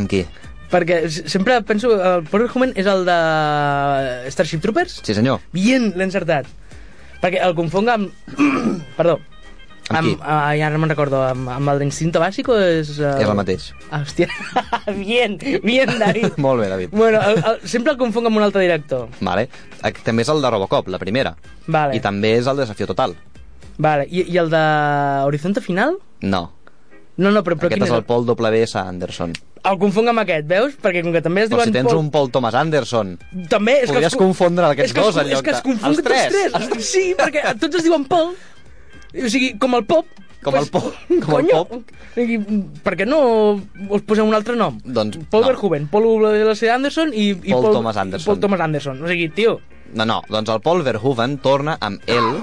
Speaker 8: Qui?
Speaker 7: perquè s- sempre penso que el Paul Human és el de Starship Troopers?
Speaker 8: Sí, senyor.
Speaker 7: Bien, l'he encertat. Perquè el confonc amb... [clears throat] Perdó.
Speaker 8: Amb qui?
Speaker 7: ah, ja no me'n recordo, amb, amb el d'Instinto Bàsico és... Uh...
Speaker 8: És el mateix. [laughs]
Speaker 7: Hòstia, [laughs] bien, bien, David.
Speaker 8: Molt bé, David.
Speaker 7: bueno, el, el, sempre el confonc amb un altre director.
Speaker 8: Vale. Ac- També és el de Robocop, la primera.
Speaker 7: Vale,
Speaker 8: I també és el Desafío Total.
Speaker 7: vale. I, i el de Horizonte Final?
Speaker 8: No.
Speaker 7: No, no, però, però
Speaker 8: aquest
Speaker 7: quin
Speaker 8: és
Speaker 7: era?
Speaker 8: el Paul W.S. Anderson.
Speaker 7: El confonc amb aquest, veus? Perquè com que també es
Speaker 8: Però
Speaker 7: diuen...
Speaker 8: si tens
Speaker 7: Paul-
Speaker 8: un Paul Thomas Anderson.
Speaker 7: També és
Speaker 8: Podries
Speaker 7: que... es-
Speaker 8: confondre aquests
Speaker 7: és que es-
Speaker 8: dos en lloc
Speaker 7: És que es
Speaker 8: de-
Speaker 7: confon
Speaker 8: els
Speaker 7: tots tres.
Speaker 8: tres. [laughs]
Speaker 7: Els- Sí, perquè a tots es diuen Paul. O sigui, com el pop.
Speaker 8: Com el
Speaker 7: [laughs]
Speaker 8: pop, com el
Speaker 7: Conyo, o sigui, per què no us posem un altre nom?
Speaker 8: Doncs,
Speaker 7: Paul
Speaker 8: no.
Speaker 7: Verhoeven, Paul W.C. Anderson i, i
Speaker 8: Paul Thomas Anderson.
Speaker 7: Paul Thomas Anderson. O sigui, tio,
Speaker 8: No, no, doncs el Paul Verhoeven torna amb L,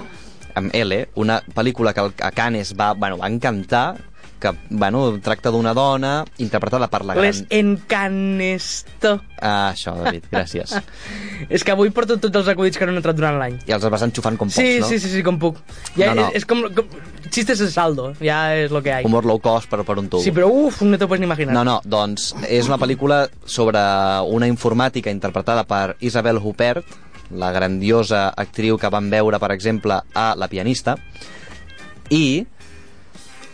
Speaker 8: amb L, una pel·lícula que el- a Cannes va, bueno, va encantar, que bueno, tracta d'una dona interpretada per la gran...
Speaker 7: les encanesto.
Speaker 8: Ah, això, David, gràcies.
Speaker 7: [laughs] És que avui porto tots els acudits que no han entrat durant l'any.
Speaker 8: I els vas enxufant com pots,
Speaker 7: Sí,
Speaker 8: no?
Speaker 7: sí, sí, sí, com puc. Ja
Speaker 8: No, no.
Speaker 7: És, és com, com... Chistes de saldo, ja és lo que hay.
Speaker 8: Humor low cost, però per un tubo.
Speaker 7: Sí, però uf, no t'ho pots ni imaginar.
Speaker 8: No, no, doncs és una pel·lícula sobre una informàtica interpretada per Isabel Huppert, la grandiosa actriu que vam veure, per exemple, a La pianista, i...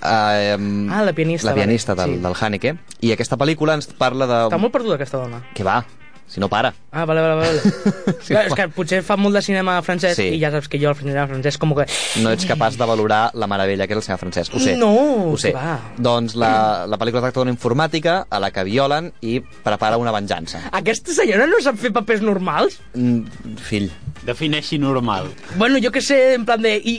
Speaker 8: Eh,
Speaker 7: Ah, La pianista,
Speaker 8: La
Speaker 7: vale,
Speaker 8: pianista del,
Speaker 7: sí.
Speaker 8: del Haneke. I aquesta pel·lícula ens parla de...
Speaker 7: Està molt perduda aquesta dona.
Speaker 8: Que va, si no para.
Speaker 7: Ah, vale, vale, [laughs] vale. sí, Clar, és que potser fa molt de cinema francès
Speaker 8: Sí.
Speaker 7: sí. i ja saps que jo el cinema francès com que...
Speaker 8: No ets capaç de valorar la meravella que és el senyor Francesc, ho sé.
Speaker 7: No,
Speaker 8: ho sé.
Speaker 7: que va.
Speaker 8: Doncs la, la pel·lícula tracta d'una informàtica a la que violen i prepara una venjança.
Speaker 7: Aquesta senyora no sap fer papers normals?
Speaker 8: Mm, fill.
Speaker 9: Defineixi normal.
Speaker 7: Bueno, jo que sé, en plan de... I,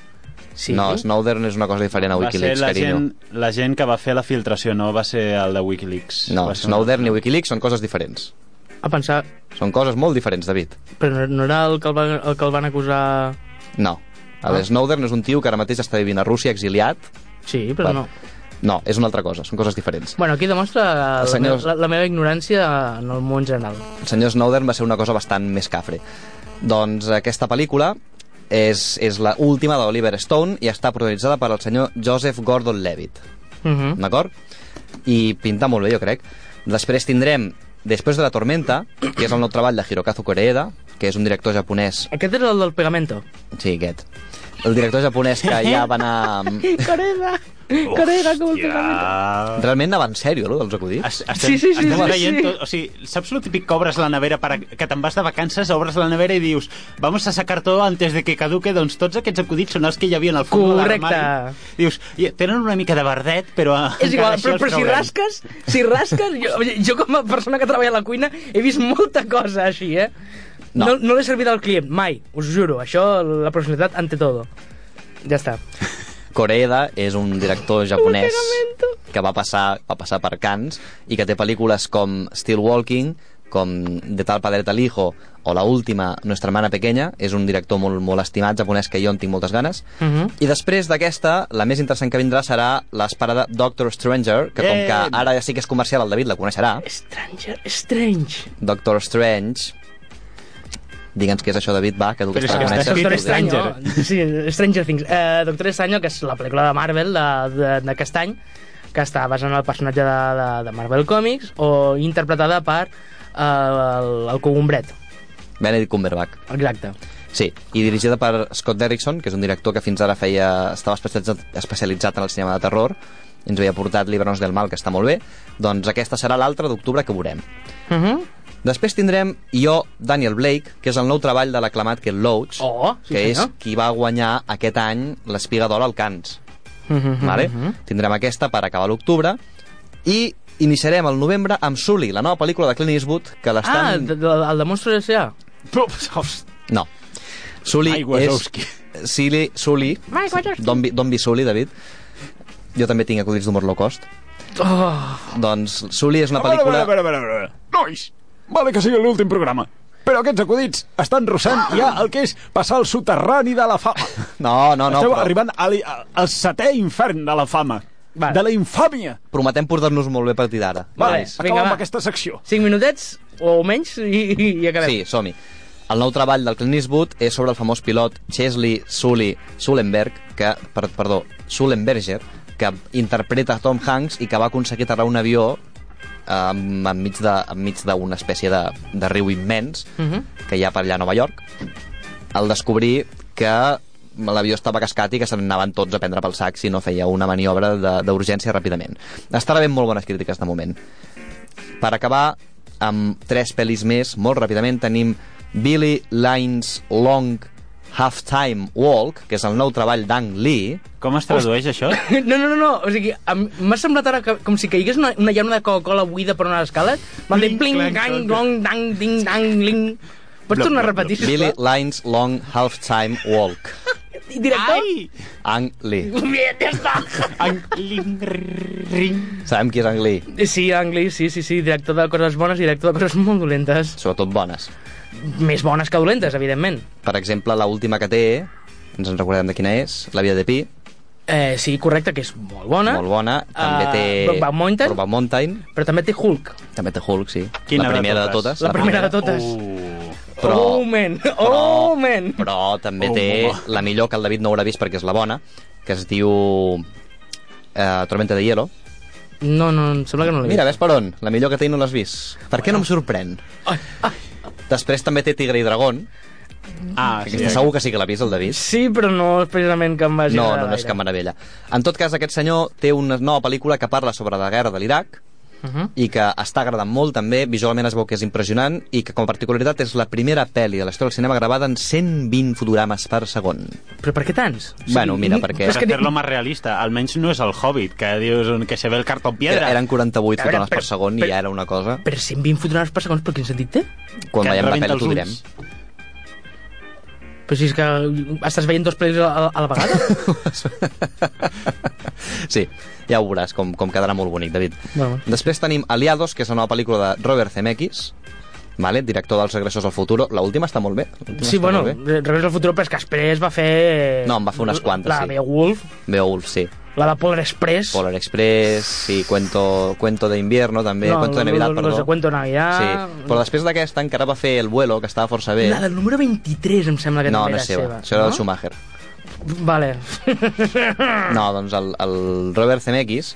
Speaker 7: Sí?
Speaker 8: No, Snowdern és una cosa diferent a
Speaker 9: Va ser
Speaker 8: Wikileaks,
Speaker 9: la
Speaker 8: carinyo.
Speaker 9: gent, la gent que va fer la filtració, no va ser el de Wikileaks.
Speaker 8: No,
Speaker 9: va ser un-
Speaker 8: Snowdern i Wikileaks són coses diferents.
Speaker 7: A pensar...
Speaker 8: Són coses molt diferents, David.
Speaker 7: Però no, no era el que el, van, el que el van acusar...
Speaker 8: No. El
Speaker 7: Ah.
Speaker 8: Snowdern és un tio que ara mateix està vivint a Rússia, exiliat.
Speaker 7: Sí, però
Speaker 8: Va.
Speaker 7: no.
Speaker 8: No, és una altra cosa, són coses diferents.
Speaker 7: Bueno, aquí demostra la,
Speaker 8: Els senyors-
Speaker 7: la, la meva ignorància en el món general.
Speaker 8: el senyor Snowden va ser una cosa bastant més cafre. Doncs aquesta pel·lícula és, és la última d'Oliver Stone i està protagonitzada per el senyor Joseph Gordon-Levitt,
Speaker 7: Mhm.
Speaker 8: d'acord? I pinta molt bé, jo crec. Després tindrem Després de la tormenta, que és el nou treball de Hirokazu Koreeda, que és un director japonès...
Speaker 7: Aquest és el del pegamento.
Speaker 8: Sí, aquest. El director japonès que ja va anar...
Speaker 9: Mm.
Speaker 7: [laughs] Coreda! Coreda, com el pegamento.
Speaker 9: Ah.
Speaker 8: Realment anava en sèrio, no, dels acudits?
Speaker 9: Es- Estem,
Speaker 7: Sí, sí, sí,
Speaker 9: estem
Speaker 7: sí,
Speaker 9: veient
Speaker 7: sí.
Speaker 9: Tot, o sigui, saps lo típic que obres la nevera per a, que te'n vas de vacances, obres la nevera i dius vamos a sacar todo antes de que caduque doncs tots aquests acudits són els que hi havia en el fons de
Speaker 7: Correcte.
Speaker 9: l'armari dius, "I- tenen una mica de verdet però eh, encara
Speaker 7: És igual,
Speaker 9: així
Speaker 7: però,
Speaker 9: els
Speaker 7: però si
Speaker 9: traurem."
Speaker 7: rasques, si rasques, jo, jo com a persona que treballa a la cuina he vist molta cosa així, eh?
Speaker 8: No.
Speaker 7: No, no, no l'he servit al client, mai, us juro. Això, la professionalitat ante todo. Ja està.
Speaker 8: Koreeda és un director japonès
Speaker 7: pegamento.
Speaker 8: que va passar, va passar per Cannes i que té pel·lícules com Still Walking, com De tal padre tal hijo o la última, Nuestra hermana pequeña és un director molt, molt estimat japonès que jo en tinc moltes ganes
Speaker 7: Mhm.
Speaker 8: i després d'aquesta, la més interessant que vindrà serà l'esperada Doctor Stranger que com
Speaker 9: Eh!
Speaker 8: que ara ja sí que és comercial el David la coneixerà
Speaker 7: Stranger, strange.
Speaker 8: Doctor Strange digue'ns què és això David, va que tu que
Speaker 9: Però és
Speaker 8: estàs
Speaker 9: que
Speaker 8: a
Speaker 9: està
Speaker 8: conèixer.
Speaker 7: Doctor
Speaker 9: escrit
Speaker 7: Strange.
Speaker 9: Stranger.
Speaker 7: No? Sí, Stranger Things. Uh, Doctor Strange, que és la pel·lícula de Marvel de, de, de Castany, que està basada en el personatge de, de, de Marvel Comics, o interpretada per eh, el, el cogombret.
Speaker 8: Benedict Cumberbatch.
Speaker 7: Exacte.
Speaker 8: Sí, i dirigida per Scott Derrickson, que és un director que fins ara feia, estava especialitzat, especialitzat en el cinema de terror, ens havia portat Libranos del Mal, que està molt bé, doncs aquesta serà l'altra d'octubre que veurem.
Speaker 7: Uh -huh.
Speaker 8: Després tindrem jo, Daniel Blake, que és el nou treball de l'aclamat Ken Loach,
Speaker 7: Oh, sí
Speaker 8: que
Speaker 7: senyor.
Speaker 8: és qui va guanyar aquest any l'Espiga d'Or al Cans.
Speaker 7: Uh -huh.
Speaker 8: Vale? Tindrem aquesta per acabar l'octubre i iniciarem el novembre amb Sully, la nova pel·lícula de Clint Eastwood, que
Speaker 7: Ah,
Speaker 8: l'estan...
Speaker 7: de, de, el de Monstro S.A.
Speaker 8: No. Sully
Speaker 10: Ai, Wazowski.
Speaker 8: és... Sully, Sully. Don't be, don't be Sully, David. Jo també tinc acudits d'humor low cost.
Speaker 7: Oh.
Speaker 8: Doncs Sully és una
Speaker 10: A veure, a
Speaker 8: pel·lícula...
Speaker 10: veure, a veure, a veure. Nois, vale que sigui l'últim programa, però aquests acudits estan rossant ja el que és passar al soterrani de la fama.
Speaker 8: No, no, no.
Speaker 10: Esteu
Speaker 8: però
Speaker 10: arribant a li- a- al setè infern de la fama.
Speaker 7: Vale.
Speaker 10: De la infàmia.
Speaker 8: Prometem portar-nos molt bé a partir d'ara.
Speaker 7: Vale.
Speaker 10: Vale,
Speaker 8: Nice.
Speaker 10: acabem
Speaker 7: va.
Speaker 10: amb aquesta secció.
Speaker 7: 5 minutets o menys i, i, i acabem.
Speaker 8: Sí, som -hi. El nou treball del Clint Eastwood és sobre el famós pilot Chesley Sully Sullenberg, que, per, perdó, Sullenberger, que interpreta Tom Hanks i que va aconseguir aterrar un avió eh, enmig de- enmig d'una espècie de, de riu immens uh
Speaker 7: Mhm.
Speaker 8: -huh. que hi ha per allà a Nova York al descobrir que l'avió estava cascat i que se n'anaven tots a prendre pel sac si no feia una maniobra de- d'urgència ràpidament. Està rebent molt bones crítiques de moment. Per acabar, amb tres pel·lis més, molt ràpidament, tenim Billy Lynes Long Halftime Walk, que és el nou treball d'Ang Lee.
Speaker 9: Com es tradueix això?
Speaker 7: No, no, no, no. o sigui, a mi- m'ha semblat ara que, com si caigués una, una llauna de Coca-Cola buida per una escala. Van dir pling, gang, gong, dang, ding, dang, ling. Pots tornar a repetir,
Speaker 8: Billy
Speaker 7: sisplau?
Speaker 8: Lynes Long Halftime Walk.
Speaker 7: I Director? Ai!
Speaker 8: Ang Lee.
Speaker 7: Bien, ja està.
Speaker 8: Sabem qui és Ang Lee,
Speaker 7: Sí, Anglis, sí, sí, sí, director de coses bones i director de coses molt dolentes.
Speaker 8: sobretot bones.
Speaker 7: Més bones que dolentes, evidentment.
Speaker 8: Per exemple, la última que té, ens en recordem de quina és, La vida de Pi,
Speaker 7: Eh, sí, correcte, que és molt bona.
Speaker 8: molt bona. També
Speaker 7: Ah,
Speaker 8: té...
Speaker 7: Brokeback Mountain.
Speaker 8: Brokeback Mountain.
Speaker 7: Però també té Hulk.
Speaker 8: També té Hulk, sí.
Speaker 9: Quina
Speaker 8: la
Speaker 9: de
Speaker 8: primera de
Speaker 9: totes? Uh.
Speaker 8: totes.
Speaker 7: La, primera de totes.
Speaker 8: Però-
Speaker 7: Oh, man. Oh, man.
Speaker 8: Però també
Speaker 10: Oh,
Speaker 8: té
Speaker 10: home.
Speaker 8: la millor que el David no haurà vist perquè és la bona, que es diu... Eh, Tormenta de Hielo.
Speaker 7: No, no, em sembla que no l'he
Speaker 8: Mira, ves per on? La millor que té i no l'has vist. Per què no em sorprèn? Després també té Tigre i Dragón.
Speaker 10: Ah,
Speaker 8: Aquesta segur que sí que l'ha vist, el David.
Speaker 7: Sí, però no és precisament que em vagi
Speaker 8: No,
Speaker 7: agradar
Speaker 8: no, no és
Speaker 7: gaire.
Speaker 8: cap meravella. En tot cas, aquest senyor té una nova pel·lícula que parla sobre la guerra de l'Iraq uh
Speaker 7: Mhm.
Speaker 8: -huh. i que està agradant molt també, visualment es veu que és impressionant i que com a particularitat és la primera pel·li de la història del cinema gravada en 120 fotogrames per segon.
Speaker 7: Però per què tants?
Speaker 8: bueno, mira, perquè
Speaker 9: Per
Speaker 7: que ni-
Speaker 9: fer-lo més realista, almenys no és el Hobbit, que dius un- que se ve el cartó piedra.
Speaker 8: eren 48
Speaker 7: A veure,
Speaker 8: fotogrames per
Speaker 7: però-
Speaker 8: segon i
Speaker 7: però-
Speaker 8: ja era una cosa.
Speaker 7: Per 120 fotogrames per segons, per quin sentit té?
Speaker 8: Quan
Speaker 9: Que et
Speaker 8: veiem la
Speaker 9: rebenta
Speaker 8: pel·li
Speaker 9: els
Speaker 8: t'ho
Speaker 9: ulls.
Speaker 8: direm.
Speaker 7: Però si és que estàs veient dos pel·lis a, a la
Speaker 8: [laughs]
Speaker 7: vegada?
Speaker 8: [laughs] Sí, ja ho veuràs, com, com quedarà molt bonic, David.
Speaker 7: Bueno.
Speaker 8: Després tenim Aliados, que és la nova pel·lícula de Robert Zemeckis, vale? director dels Regressos al Futuro. L'última està molt bé. l'última
Speaker 7: sí,
Speaker 8: està
Speaker 7: bueno,
Speaker 8: molt bé.
Speaker 7: Regreso al futur, però és que després va fer...
Speaker 8: No, en va fer unes quantes,
Speaker 7: La
Speaker 8: sí.
Speaker 7: Beowulf,
Speaker 8: Beowulf, sí.
Speaker 7: la de Polar Express...
Speaker 8: Polar Express, sí, Cuento, cuento de Invierno, també.
Speaker 7: no,
Speaker 8: cuento de Navidad,
Speaker 7: los,
Speaker 8: perdó.
Speaker 7: Los de Cuento de Navidad...
Speaker 8: Sí, però després d'aquesta encara va fer El Vuelo, que estava força bé.
Speaker 7: La del número 23 em sembla que
Speaker 8: No,
Speaker 7: també
Speaker 8: no
Speaker 7: era
Speaker 8: és seva.
Speaker 7: seva.
Speaker 8: Això era del Schumacher.
Speaker 7: Schumacher. Vale. [laughs]
Speaker 8: No, doncs el, el Robert Zemeckis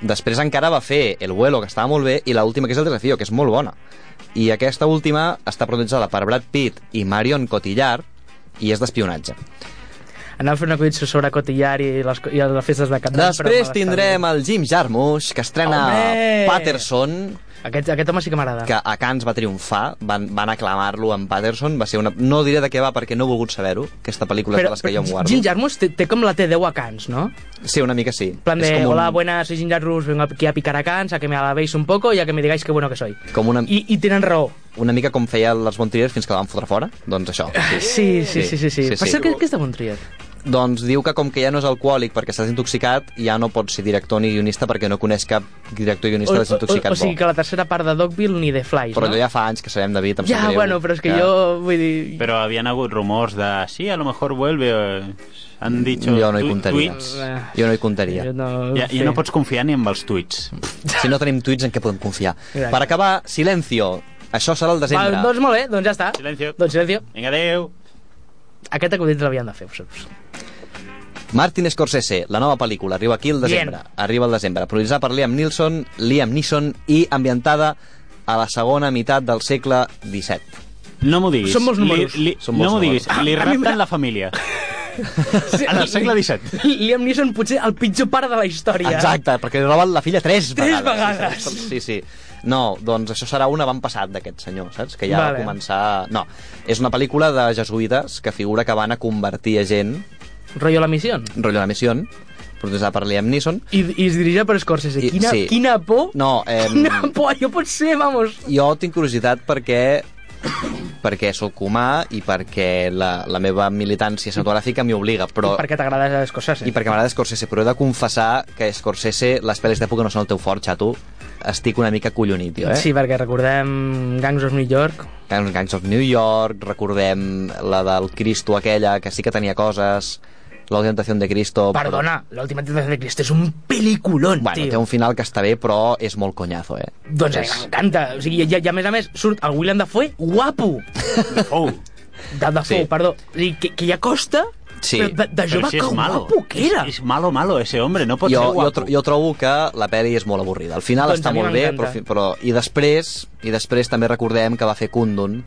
Speaker 8: després encara va fer El Vuelo, que estava molt bé, i l'última, que és El Desafío, que és molt bona. I aquesta última està protagonitzada per Brad Pitt i Marion Cotillard, i és d'espionatge.
Speaker 7: Anava fent una acudit sobre Cotillar i les, i les festes de Cap d'Any, però me
Speaker 8: Després
Speaker 7: va
Speaker 8: tindrem
Speaker 7: estar
Speaker 8: el Jim Jarmusch, que estrena
Speaker 7: Home!
Speaker 8: Patterson,
Speaker 7: bé. Aquest, aquest home sí que m'agrada.
Speaker 8: que a Cannes va triomfar, van, van aclamar-lo en Patterson, va ser una... No diré de què va perquè no he volgut saber-ho, aquesta pel·lícula és de les que jo em guardo.
Speaker 7: Jim Jarmusch té, té com la T10 a Cans, no?
Speaker 8: Sí, una mica sí.
Speaker 7: En plan
Speaker 8: És
Speaker 7: de,
Speaker 8: com
Speaker 7: hola,
Speaker 8: un,
Speaker 7: buenas, soy Jim Jarmusch, vengo aquí a picar a Cans, a que me alabéis un poco y a que me digáis qué bueno que soy.
Speaker 8: Com una,
Speaker 7: I, i tenen raó.
Speaker 8: una mica com feia el Lars von Trier fins que la van fotre fora, doncs això.
Speaker 7: Sí, sí, sí, sí. sí, sí. Per cert, que, que és de bon triat.
Speaker 8: Doncs diu que com que ja no és alcohòlic perquè s'ha desintoxicat, ja no pot ser director ni guionista perquè no coneix cap director
Speaker 7: O,
Speaker 8: i guionista
Speaker 7: o, o,
Speaker 8: desintoxicat
Speaker 7: o sigui
Speaker 8: bo.
Speaker 7: que la tercera part de Dogville ni de Flies,
Speaker 8: Però
Speaker 7: no?
Speaker 8: allò ja fa anys que sabem, David, em sap
Speaker 7: ja
Speaker 8: greu,
Speaker 7: bueno, però és que jo, vull dir...
Speaker 9: Però havien hagut rumors de... Sí, a lo mejor vuelve... eh, Han dicho
Speaker 8: Jo no hi
Speaker 9: tu-
Speaker 8: comptaria.
Speaker 9: tuits.
Speaker 8: Jo no hi comptaria.
Speaker 7: Jo no,
Speaker 9: Ja,
Speaker 7: sí.
Speaker 9: ja no pots confiar ni amb els tuits.
Speaker 8: Si no tenim tuits, en què podem confiar?
Speaker 7: Exacte.
Speaker 8: Per acabar, Silencio. Això serà el
Speaker 7: Va,
Speaker 8: desembre.
Speaker 7: doncs molt bé, doncs ja està.
Speaker 9: Silencio.
Speaker 7: Doncs silencio.
Speaker 9: Vinga, adeu.
Speaker 7: Aquest acudit l'havien de fer, vosaltres.
Speaker 8: Martin Scorsese, la nova pel·lícula, arriba aquí el desembre.
Speaker 7: Bien.
Speaker 8: Arriba el desembre. Protagonitzada per Liam Neeson, Liam Neeson i ambientada a la segona meitat del segle XVII.
Speaker 9: No m'ho diguis.
Speaker 8: Són molts números.
Speaker 9: Li, li,
Speaker 8: Són
Speaker 9: no
Speaker 8: molts
Speaker 9: m'ho diguis.
Speaker 8: números.
Speaker 9: Li
Speaker 8: Ah, a mi
Speaker 9: rapten
Speaker 8: una-
Speaker 9: la família. En el segle XVII.
Speaker 7: [laughs] Liam Neeson potser el pitjor pare de la història.
Speaker 8: Exacte, perquè roben la filla tres
Speaker 7: Tres
Speaker 8: vegades.
Speaker 7: vegades.
Speaker 8: Sí, sí. No, doncs això serà un avantpassat d'aquest senyor, saps? Que ja
Speaker 7: Vale.
Speaker 8: va començar... No, és una pel·lícula de jesuïtes que figura que van a convertir a gent,
Speaker 7: Rollo la missió.
Speaker 8: rotllo la missió, protestada per Liam Neeson.
Speaker 7: I, i es dirigeix per Scorsese.
Speaker 8: I-
Speaker 7: Quina,
Speaker 8: sí.
Speaker 7: quina por...
Speaker 8: No, eh,
Speaker 7: Quina por, jo pot ser, vamos.
Speaker 8: jo tinc curiositat perquè perquè sóc humà i perquè la, la meva militància cinematogràfica m'hi obliga, però...
Speaker 7: Per què t'agrada Scorsese?
Speaker 8: Oh. I perquè m'agrada Scorsese, però he de confessar que Scorsese, les pel·lis d'època no són el teu fort, xato. Estic una mica collonit, jo, eh?
Speaker 7: Sí, perquè recordem Gangs of New York.
Speaker 8: Gangs Gangs of New York, recordem la del Cristo aquella, que sí que tenia coses, la tentació de Cristo... però-
Speaker 7: Perdona, l'última tentació de Cristo és un peliculón,
Speaker 8: Oh. Bueno,
Speaker 7: tio.
Speaker 8: té un final que està bé, però és molt conyazo, eh?
Speaker 7: Doncs a mi m'encanta. O sigui, ja, ja, a més a més, surt el William Dafoe guapo.
Speaker 9: Fou.
Speaker 7: De Dafoe,
Speaker 8: Sí.
Speaker 7: perdó. O sigui, que, que ja costa,
Speaker 8: Sí.
Speaker 7: però de, de
Speaker 9: Però
Speaker 7: jove
Speaker 9: si és
Speaker 7: que
Speaker 9: malo.
Speaker 7: guapo que era.
Speaker 9: És, és malo, malo, ese hombre. No pot
Speaker 8: jo,
Speaker 9: ser
Speaker 8: jo,
Speaker 9: guapo.
Speaker 8: tro- jo trobo que la pel·li és molt avorrida. Al final
Speaker 7: Doncs
Speaker 8: està
Speaker 7: a mi
Speaker 8: molt bé,
Speaker 7: m'encanta.
Speaker 8: però, fi- però... I després i després també recordem que va fer Kundun.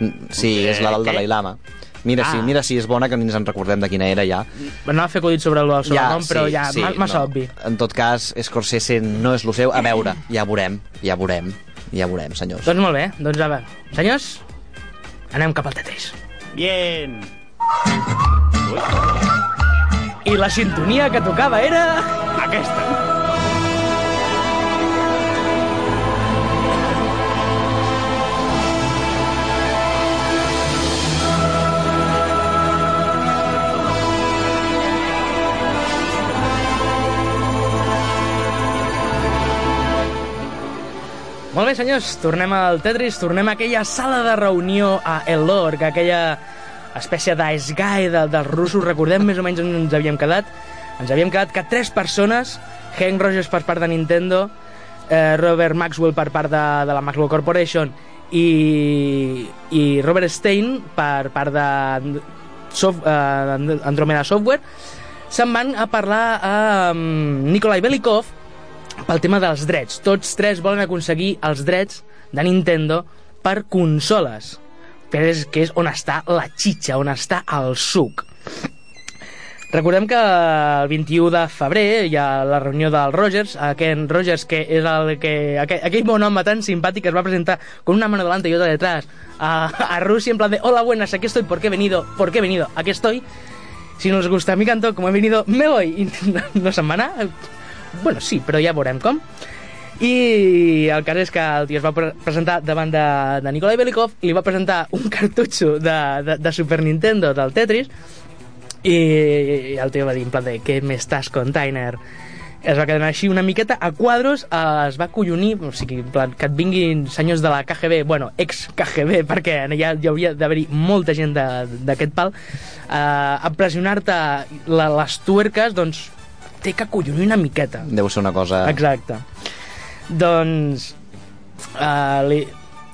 Speaker 8: Mm, Sí,
Speaker 9: Eh,
Speaker 8: és la del
Speaker 9: què?
Speaker 8: Dalai Lama. Mira,
Speaker 9: Ah.
Speaker 8: si, mira si és bona, que ni ens en recordem de quina era ja.
Speaker 7: Anava a fer codit sobre el sobre el nom, però ja, ma- massa
Speaker 8: no.
Speaker 7: obvi.
Speaker 8: En tot cas, Scorsese no és lo seu. A veure, ja veurem, ja veurem, ja veurem, senyors.
Speaker 7: Doncs molt bé, doncs a veure. Senyors, anem cap al Tetris.
Speaker 9: Bien.
Speaker 7: I la sintonia que tocava era...
Speaker 9: Aquesta.
Speaker 7: Molt bé, senyors, tornem al Tetris, tornem a aquella sala de reunió a El Lorg, aquella espècie d'esgai de, dels russos, recordem més o menys on ens havíem quedat. Ens havíem quedat que tres persones, Hank Rogers per part de Nintendo, eh, Robert Maxwell per part de, de la Maxwell Corporation i, i Robert Stein per part de sof, eh, Andromeda Software, se'n van a parlar amb Nikolai Belikov, pel tema dels drets. Tots tres volen aconseguir els drets de Nintendo per consoles, que és, que és on està la xitxa, on està el suc. Recordem que el 21 de febrer hi ha la reunió del Rogers, a Ken Rogers, que és el que, aquell, aquell bon home tan simpàtic que es va presentar con una mano delante y otra detrás a, a Rússia en plan de hola, buenas, aquí estoy, ¿por qué he venido? ¿Por qué he venido? Aquí estoy. Si no os gusta mi canto, como he venido, me voy. I [laughs] no, no se'n va anar. Bueno, sí, però ja veurem com. I el cas és que el tio es va pre presentar davant de, de Nikolai Belikov, li va presentar un [laughs] cartutxo de, de, de Super Nintendo del Tetris, i el tio va dir en plan de què m'estàs container es va quedar així una miqueta a quadros eh, es va collonir, o sigui, en plan, que et vinguin senyors de la KGB, bueno, ex-KGB [laughs] perquè ja, hi hauria d'haver-hi molta gent de- d'aquest pal eh, a pressionar-te la- les tuerques doncs té que collonir una miqueta
Speaker 8: Deu ser una cosa...
Speaker 7: Exacte. Doncs, eh, li,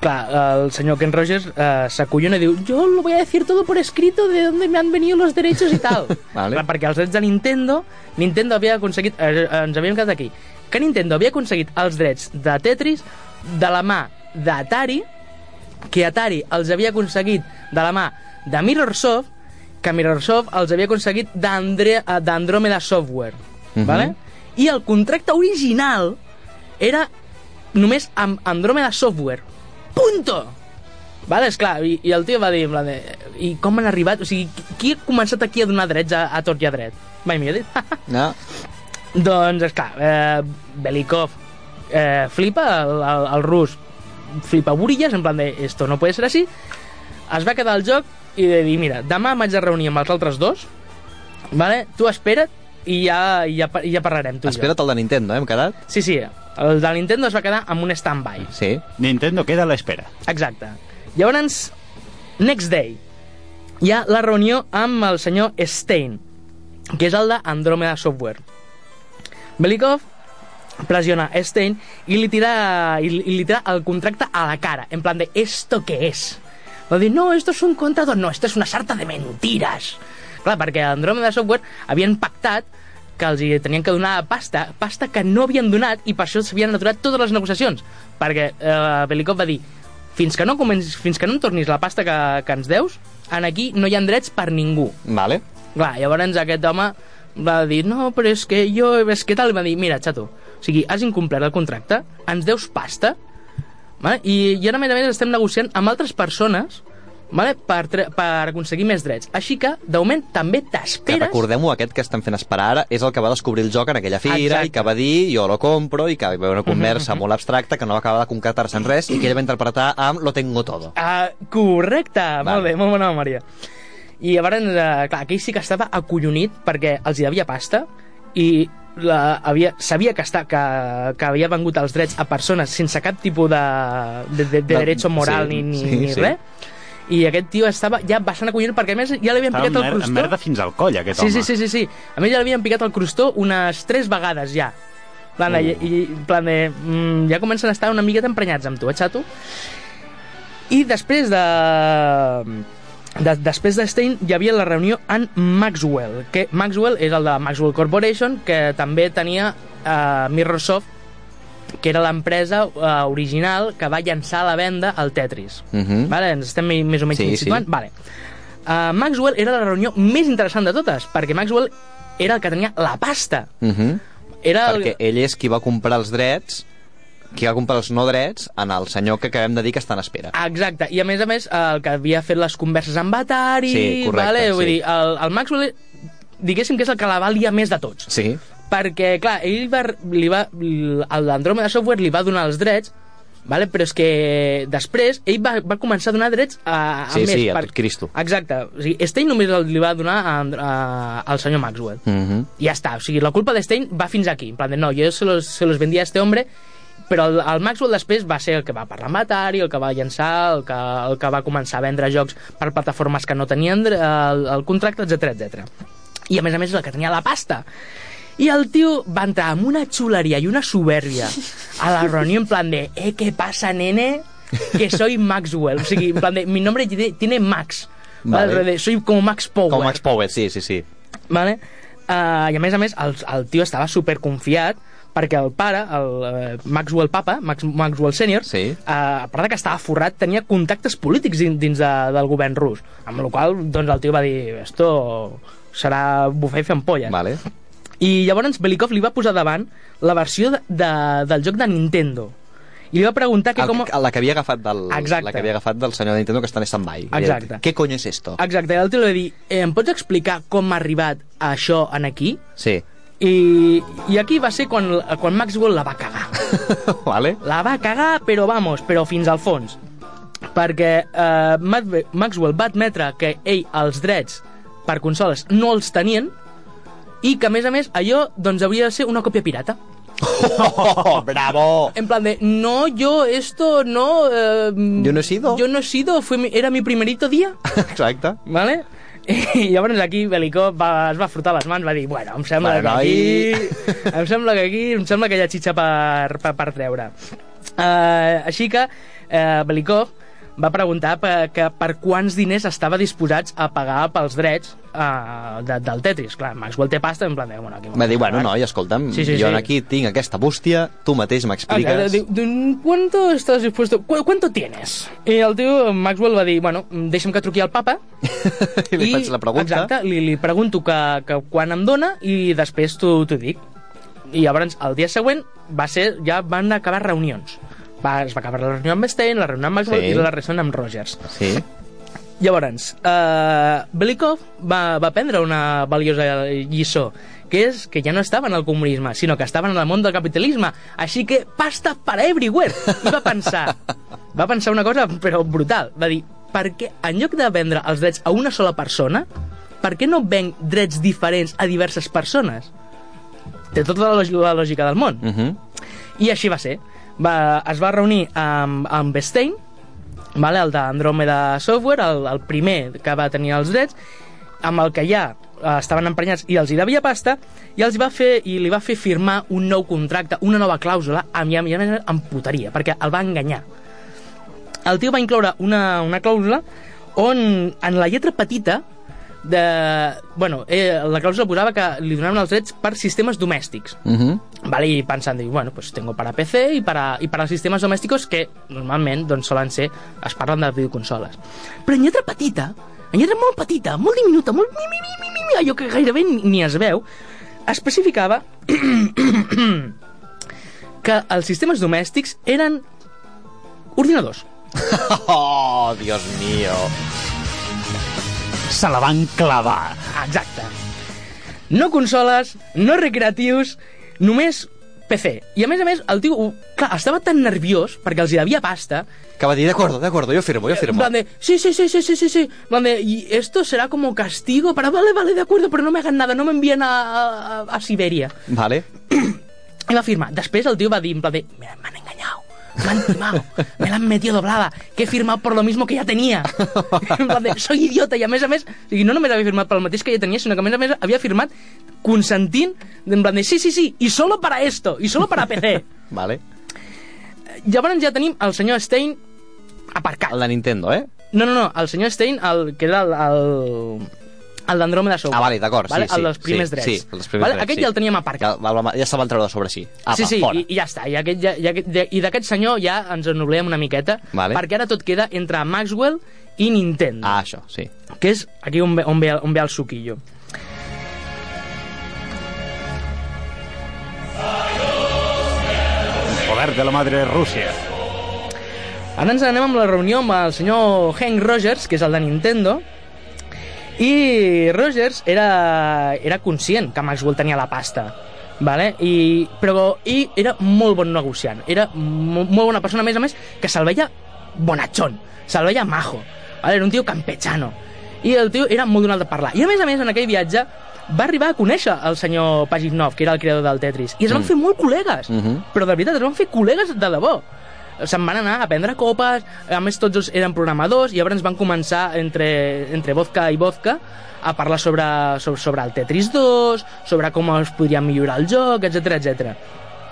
Speaker 7: clar, el señor Ken Rogers eh, s'acollona i diu «Yo lo voy a decir todo por escrito de dónde me han venido los derechos y tal».
Speaker 8: Vale.
Speaker 7: Clar, perquè els drets de Nintendo, Nintendo havia aconseguit... Eh, ens havíem quedat aquí. Que Nintendo havia aconseguit els drets de Tetris de la mà d'Atari, que Atari els havia aconseguit de la mà de Mirrorsoft, que Mirrorsoft els havia aconseguit d'Andre- eh, d'Andromeda Software.
Speaker 8: Mhm.
Speaker 7: vale? I el contracte original era només amb Andromeda Software. Punto! Vale, esclar, i, i el tio va dir, en plan de, i com han arribat, o sigui, qui- qui ha començat aquí a donar drets a, a tot i a dret? Mai m'hi he dit. [laughs]
Speaker 8: No?
Speaker 7: Doncs, esclar, eh, Belikov eh, flipa, el, el, el rus flipa burilles, en plan de esto no puede ser así. Es va quedar al joc i de dir, mira, demà m'haig de reunir amb els altres dos, vale? tu espera't i ja, i ja, par- i ja parlarem tu i
Speaker 8: Espera't el de Nintendo, eh? Hem quedat?
Speaker 7: jo. Sí, sí, el de Nintendo es va quedar amb un stand-by.
Speaker 8: Sí.
Speaker 9: Nintendo queda a l'espera.
Speaker 7: Exacte. Llavors, next day, hi ha la reunió amb el senyor Stein, que és el de Andromeda Software. Belikov pressiona Stein i li tira, i, li- i li tira el contracte a la cara, en plan de «esto qué es?». Va dir «no, esto es un contrato, no, esto es una sarta de mentiras». Clar, perquè Andromeda Software havien pactat que els hi tenien que donar pasta, pasta que no havien donat i per això s'havien aturat totes les negociacions. Perquè eh, Belikov va dir fins que no, comencis, fins que no em tornis la pasta que, que ens deus, en aquí no hi ha drets per ningú.
Speaker 8: Vale.
Speaker 7: Clar, llavors aquest home va dir, no, però és que jo he vist què tal, i va dir, mira, xato, o sigui, has incomplert el contracte, ens deus pasta, vale? I, i ara, a més a més, estem negociant amb altres persones vale? per, tre- per aconseguir més drets. Així que, de moment, també
Speaker 8: Que
Speaker 7: t'esperes...
Speaker 8: recordem-ho, aquest que estan fent esperar ara és el que va descobrir el joc en aquella fira
Speaker 7: Exacte.
Speaker 8: i que va dir jo lo compro i que va haver una conversa molt abstracta que no va acabar de concretar-se en res i que ell va interpretar amb lo tengo todo.
Speaker 7: Ah, correcte, molt bé, molt bona memòria. I llavors, eh, clar, aquell sí que estava acollonit perquè els hi devia pasta i la, havia, sabia que, està, que, que havia vengut els drets a persones sense cap tipus de, de, de, de
Speaker 8: De-
Speaker 7: dret moral
Speaker 8: sí,
Speaker 7: sí, ni, ni,
Speaker 8: sí,
Speaker 7: sí, ni
Speaker 8: sí.
Speaker 7: res. I aquest tio estava ja bastant acollonit perquè a més ja l'havien
Speaker 9: Estava
Speaker 7: picat el
Speaker 9: mer
Speaker 7: crustó.
Speaker 9: merda fins al coll, aquest
Speaker 7: Sí,
Speaker 9: home.
Speaker 7: sí, sí, sí, sí. A mi ja l'havien picat al crustó unes tres vegades ja. Plan de, uh. i, plan de, mm, ja comencen a estar una miqueta emprenyats amb tu, eh, xato? I després de... De, després de Stein hi havia la reunió en Maxwell, que Maxwell és el de Maxwell Corporation, que també tenia eh, Mirrorsoft, que era l'empresa eh, original que va llançar a la venda el Tetris.
Speaker 8: Mhm.
Speaker 7: Vale, ens estem mi- més o menys
Speaker 8: Sí,
Speaker 7: sí,
Speaker 8: sí.
Speaker 7: situant. Vale. Uh, Maxwell era la reunió més interessant de totes, perquè Maxwell era el que tenia la pasta.
Speaker 8: Uh -huh.
Speaker 7: Era el...
Speaker 8: Perquè ell és qui va comprar els drets qui va comprar els no drets en el senyor que acabem de dir que està en espera.
Speaker 7: Ah. Exacte, i a més a més, el que havia fet les converses amb Atari...
Speaker 8: Sí, correcte,
Speaker 7: vale? Vull
Speaker 8: sí.
Speaker 7: dir, el, el Maxwell, diguéssim que és el que la va liar més de tots.
Speaker 8: Sí.
Speaker 7: perquè, clar, ell va, li va, el d'Andromeda Software li va donar els drets, vale? però és que després ell va, va començar a donar drets a, a
Speaker 8: Sí,
Speaker 7: més.
Speaker 8: sí, a tot Cristo.
Speaker 7: Exacte, o sigui, Stein només el- li va donar a, And- a, al senyor Maxwell. Mm.
Speaker 8: Mhm.
Speaker 7: I ja està, o sigui, la culpa de Stein va fins aquí, en plan de, no, jo se los, se los vendia a este hombre, però el, el Maxwell després va ser el que va parlar amb Atari, el que va llançar, el que, el que va començar a vendre jocs per plataformes que no tenien dre- el, el contracte, etc etc. I a més a més és el que tenia la pasta. I el tio va entrar amb una xuleria i una soberbia a la reunió en plan de «Eh, què passa, nene? Que soy Maxwell». O sigui, en plan de «Mi nombre tiene- tiene Max».
Speaker 8: Vale.
Speaker 7: Vale. De, soy como Max Power.
Speaker 8: Com Max Powell, sí, sí, sí.
Speaker 7: Vale? Uh, I a més a més, el, el tio estava superconfiat perquè el pare, el eh, Maxwell Papa, Max, Maxwell Senior,
Speaker 8: Sí.
Speaker 7: eh, a part de que estava forrat, tenia contactes polítics din- dins de, del govern rus. Amb la qual cosa, doncs, el tio va dir «Esto serà bufar i fer ampolles».
Speaker 8: Vale.
Speaker 7: I llavors Belikov li va posar davant la versió de, de, del joc de Nintendo. I li va preguntar que
Speaker 8: El,
Speaker 7: com...
Speaker 8: la que havia agafat del,
Speaker 7: Exacte.
Speaker 8: la que havia agafat del senyor de Nintendo que està en stand-by.
Speaker 7: Exacte.
Speaker 8: Què coño és esto?
Speaker 7: Exacte, i l'altre li va dir, eh, em pots explicar com ha arribat això en aquí?
Speaker 8: Sí. [laughs]
Speaker 7: I, i aquí va ser quan, quan Maxwell la va cagar.
Speaker 8: vale.
Speaker 7: La va cagar, però vamos, però fins al fons. Perquè eh, Mad- Maxwell va admetre que ell els drets per consoles no els tenien i que, a més a més, allò doncs, hauria de ser una còpia pirata.
Speaker 8: Oh, bravo!
Speaker 7: En plan de, no, yo esto no... eh,
Speaker 8: Yo no he sido.
Speaker 7: Yo no he sido, fue mi- era mi primerito
Speaker 8: [laughs]
Speaker 7: día,
Speaker 8: Exacte.
Speaker 7: ¿vale? [laughs] I llavors aquí Belikov va, es va frotar les mans, va dir, bueno, em sembla
Speaker 8: Bueno,
Speaker 7: que
Speaker 8: noi."
Speaker 7: aquí... Em sembla que aquí, em sembla que hi ha xitxa per, per, per treure. Uh, així que uh, Belikov va preguntar per, que per quants diners estava disposats a pagar pels drets uh, de, del Tetris. Clar, Maxwell té pasta, en plan de, bueno, aquí...
Speaker 8: Va dir, bueno, noi, escolta'm,
Speaker 7: Sí, sí,
Speaker 8: jo
Speaker 7: sí.
Speaker 8: aquí tinc aquesta bústia, tu mateix
Speaker 7: Ah,
Speaker 8: m'expliques...
Speaker 7: diu, diu, ¿Cuánto estás dispuesto? ¿Cu ¿Cuánto tienes? I el tio Maxwell va dir, bueno, mm, deixa'm que truqui al papa.
Speaker 8: [laughs] [laughs] I li faig la pregunta.
Speaker 7: Exacte, li, li pregunto que, que quan em dona i després t'ho t'ho dic. I llavors, el dia següent, va ser, ja van acabar reunions. Va, es va acabar la reunió amb Stein, la reunió amb Maxwell
Speaker 8: Sí.
Speaker 7: sí. i la reunió amb Rogers.
Speaker 8: Sí.
Speaker 7: Llavors, eh, Belikov va, va prendre una valiosa lliçó, que és que ja no estava en el comunisme, sinó que estava en el món del capitalisme. Així que pasta per everywhere! I va pensar, va pensar una cosa però brutal. Va dir, per què en lloc de vendre els drets a una sola persona, per què no venc drets diferents a diverses persones? Té tota la, lòg- la lògica del món.
Speaker 8: Uh -huh.
Speaker 7: I així va ser. Va, es va reunir amb, amb Stein, vale, el d'Andromeda Software, el, el primer que va tenir els drets, amb el que ja eh, estaven emprenyats i els hi devia pasta, i els hi va fer, i li va fer firmar un nou contracte, una nova clàusula, amb, i amb, i amb, amb puteria, perquè el va enganyar. El tio va incloure una, una clàusula on, en la lletra petita, de... Bueno, eh, la clàusula posava que li donaven els drets per sistemes domèstics.
Speaker 8: Mhm.
Speaker 7: Vale, y pensando, y bueno, pues tengo para PC y para, y para sistemes domèstics que normalment doncs, solen ser, es parlen de videoconsoles. Però en lletra petita, en lletra molt petita, molt diminuta, molt mi, mi, mi, mi, mi, mi, allò que gairebé ni ni es veu, especificava [clears throat] que els sistemes domèstics eren ordinadors.
Speaker 8: Oh, Dios mío.
Speaker 9: Se la van clavar.
Speaker 7: Exacte. No consoles, no recreatius, només PC. I a més a més, el tio ho- clar, estava tan nerviós perquè els hi devia pasta
Speaker 8: Que va dir, de acuerdo, de acuerdo, yo firmo, yo
Speaker 7: En
Speaker 8: firmo.
Speaker 7: plan de, sí, sí, sí, sí, sí, sí, sí. En plan de, y esto será como castigo para, vale, vale, de acuerdo, pero no me hagan nada, no me envíen a, a, a Siberia.
Speaker 8: Vale.
Speaker 7: I va firmar. Després el tio va dir, en plan de, me han engañado, me han timado, me la han metido doblada, que he firmat por lo mismo que ja tenia. [laughs] En plan de, soy idiota, i a més a més, o sigui, no només havia firmat pel mateix que ja tenia, sinó que a més a més havia firmat consentint, en plan de, sí, sí, sí, i solo para esto, i solo para PC.
Speaker 8: Vale.
Speaker 7: Llavors ja tenim el senyor Stein aparcat.
Speaker 8: El de Nintendo, eh?
Speaker 7: No, no, no, el senyor Stein, el, que era el... el el d'Andròmeda Software.
Speaker 8: Ah, vale, d'acord, sí,
Speaker 7: vale?
Speaker 8: sí,
Speaker 7: El dels
Speaker 8: sí,
Speaker 7: primers
Speaker 8: sí,
Speaker 7: drets.
Speaker 8: sí, els primers
Speaker 7: vale?
Speaker 8: drets,
Speaker 7: Aquest
Speaker 8: sí.
Speaker 7: ja el teníem aparcat.
Speaker 8: Ja, va- ja se'l van treure de sobre, sí. Apa,
Speaker 7: sí, sí,
Speaker 8: fora.
Speaker 7: i, i, ja està. I, aquest, ja, ja, aquest- ja, I d'aquest senyor ja ens en oblidem una miqueta,
Speaker 8: Vale.
Speaker 7: perquè ara tot queda entre Maxwell i Nintendo,
Speaker 8: Ah, això, sí.
Speaker 7: que és aquí on ve, on ve, el- on ve el suquillo.
Speaker 9: Poder de la madre Rússia.
Speaker 7: Ara ens anem amb la reunió amb el senyor Hank Rogers, que és el de Nintendo, i Rogers era, era conscient que Maxwell tenia la pasta, vale? I, però i era molt bon negociant, era mo, molt bona persona, a més a més, que se'l veia bonachón, se'l veia majo, vale? era un tio campechano, i el tio era molt donat de parlar. I a més a més, en aquell viatge, va arribar a conèixer el senyor Pajitnov, que era el creador del Tetris, i es van
Speaker 8: Mm.
Speaker 7: fer molt col·legues,
Speaker 8: Mhm.
Speaker 7: però de veritat, es van fer col·legues de debò. Se'n van anar a prendre copes, a més tots dos eren programadors, i llavors van començar entre, entre vodka i vodka a parlar sobre, sobre, sobre el Tetris 2, sobre com es podria millorar el joc, etc etc.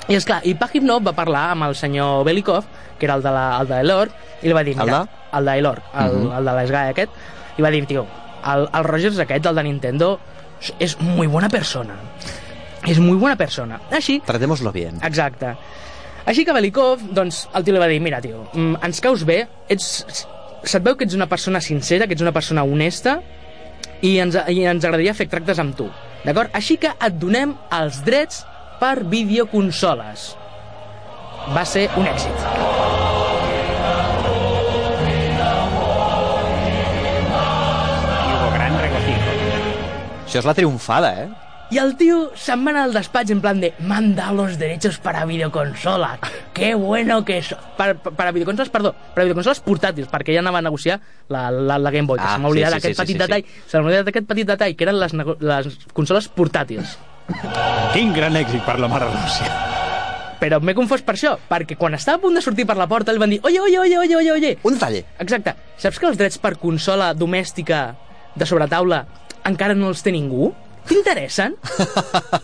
Speaker 7: I és clar, i Pajitnov va parlar amb el senyor Belikov, que era el de la- el de l'Elord, i li va dir,
Speaker 8: El
Speaker 7: mira,
Speaker 8: de?
Speaker 7: el de l'Elord, el,
Speaker 8: Mhm.
Speaker 7: el de l'Esgai E aquest, i va dir, tio, el, el Rogers aquest, el de Nintendo, és muy buena persona. És muy buena persona. Així,
Speaker 8: Tratémoslo bien.
Speaker 7: Exacte. Així que Belikov, doncs, el tio li va dir, mira, tio, mm, ens caus bé, ets, se't veu que ets una persona sincera, que ets una persona honesta, i ens, i ens agradaria fer tractes amb tu, d'acord? Així que et donem els drets per videoconsoles. Va ser un èxit.
Speaker 9: Gran regocijo.
Speaker 8: Això és la triomfada, eh?
Speaker 7: Y al tío se van al despatch en plan de manda los derechos para videoconsola. Qué bueno que es. Para, para videoconsoles, perdó, para videoconsoles portàtils, perquè ja anava a negociar la, la, la Game Boy, que
Speaker 8: Ah,
Speaker 7: se m'ha oblidat
Speaker 8: sí, sí,
Speaker 7: aquest
Speaker 8: sí,
Speaker 7: petit
Speaker 8: sí, sí.
Speaker 7: detall, se m'ha oblidat aquest petit detall, que eren les, nego- les consoles portàtils.
Speaker 9: Quin gran èxit per la mare Rússia.
Speaker 7: Però m'he confós per això, perquè quan estava a punt de sortir per la porta li van dir oye, oye, oye, oye, oye, oye.
Speaker 8: Un detall.
Speaker 7: Exacte, saps que els drets per consola domèstica de sobretaula encara no els té ningú? T'interessen?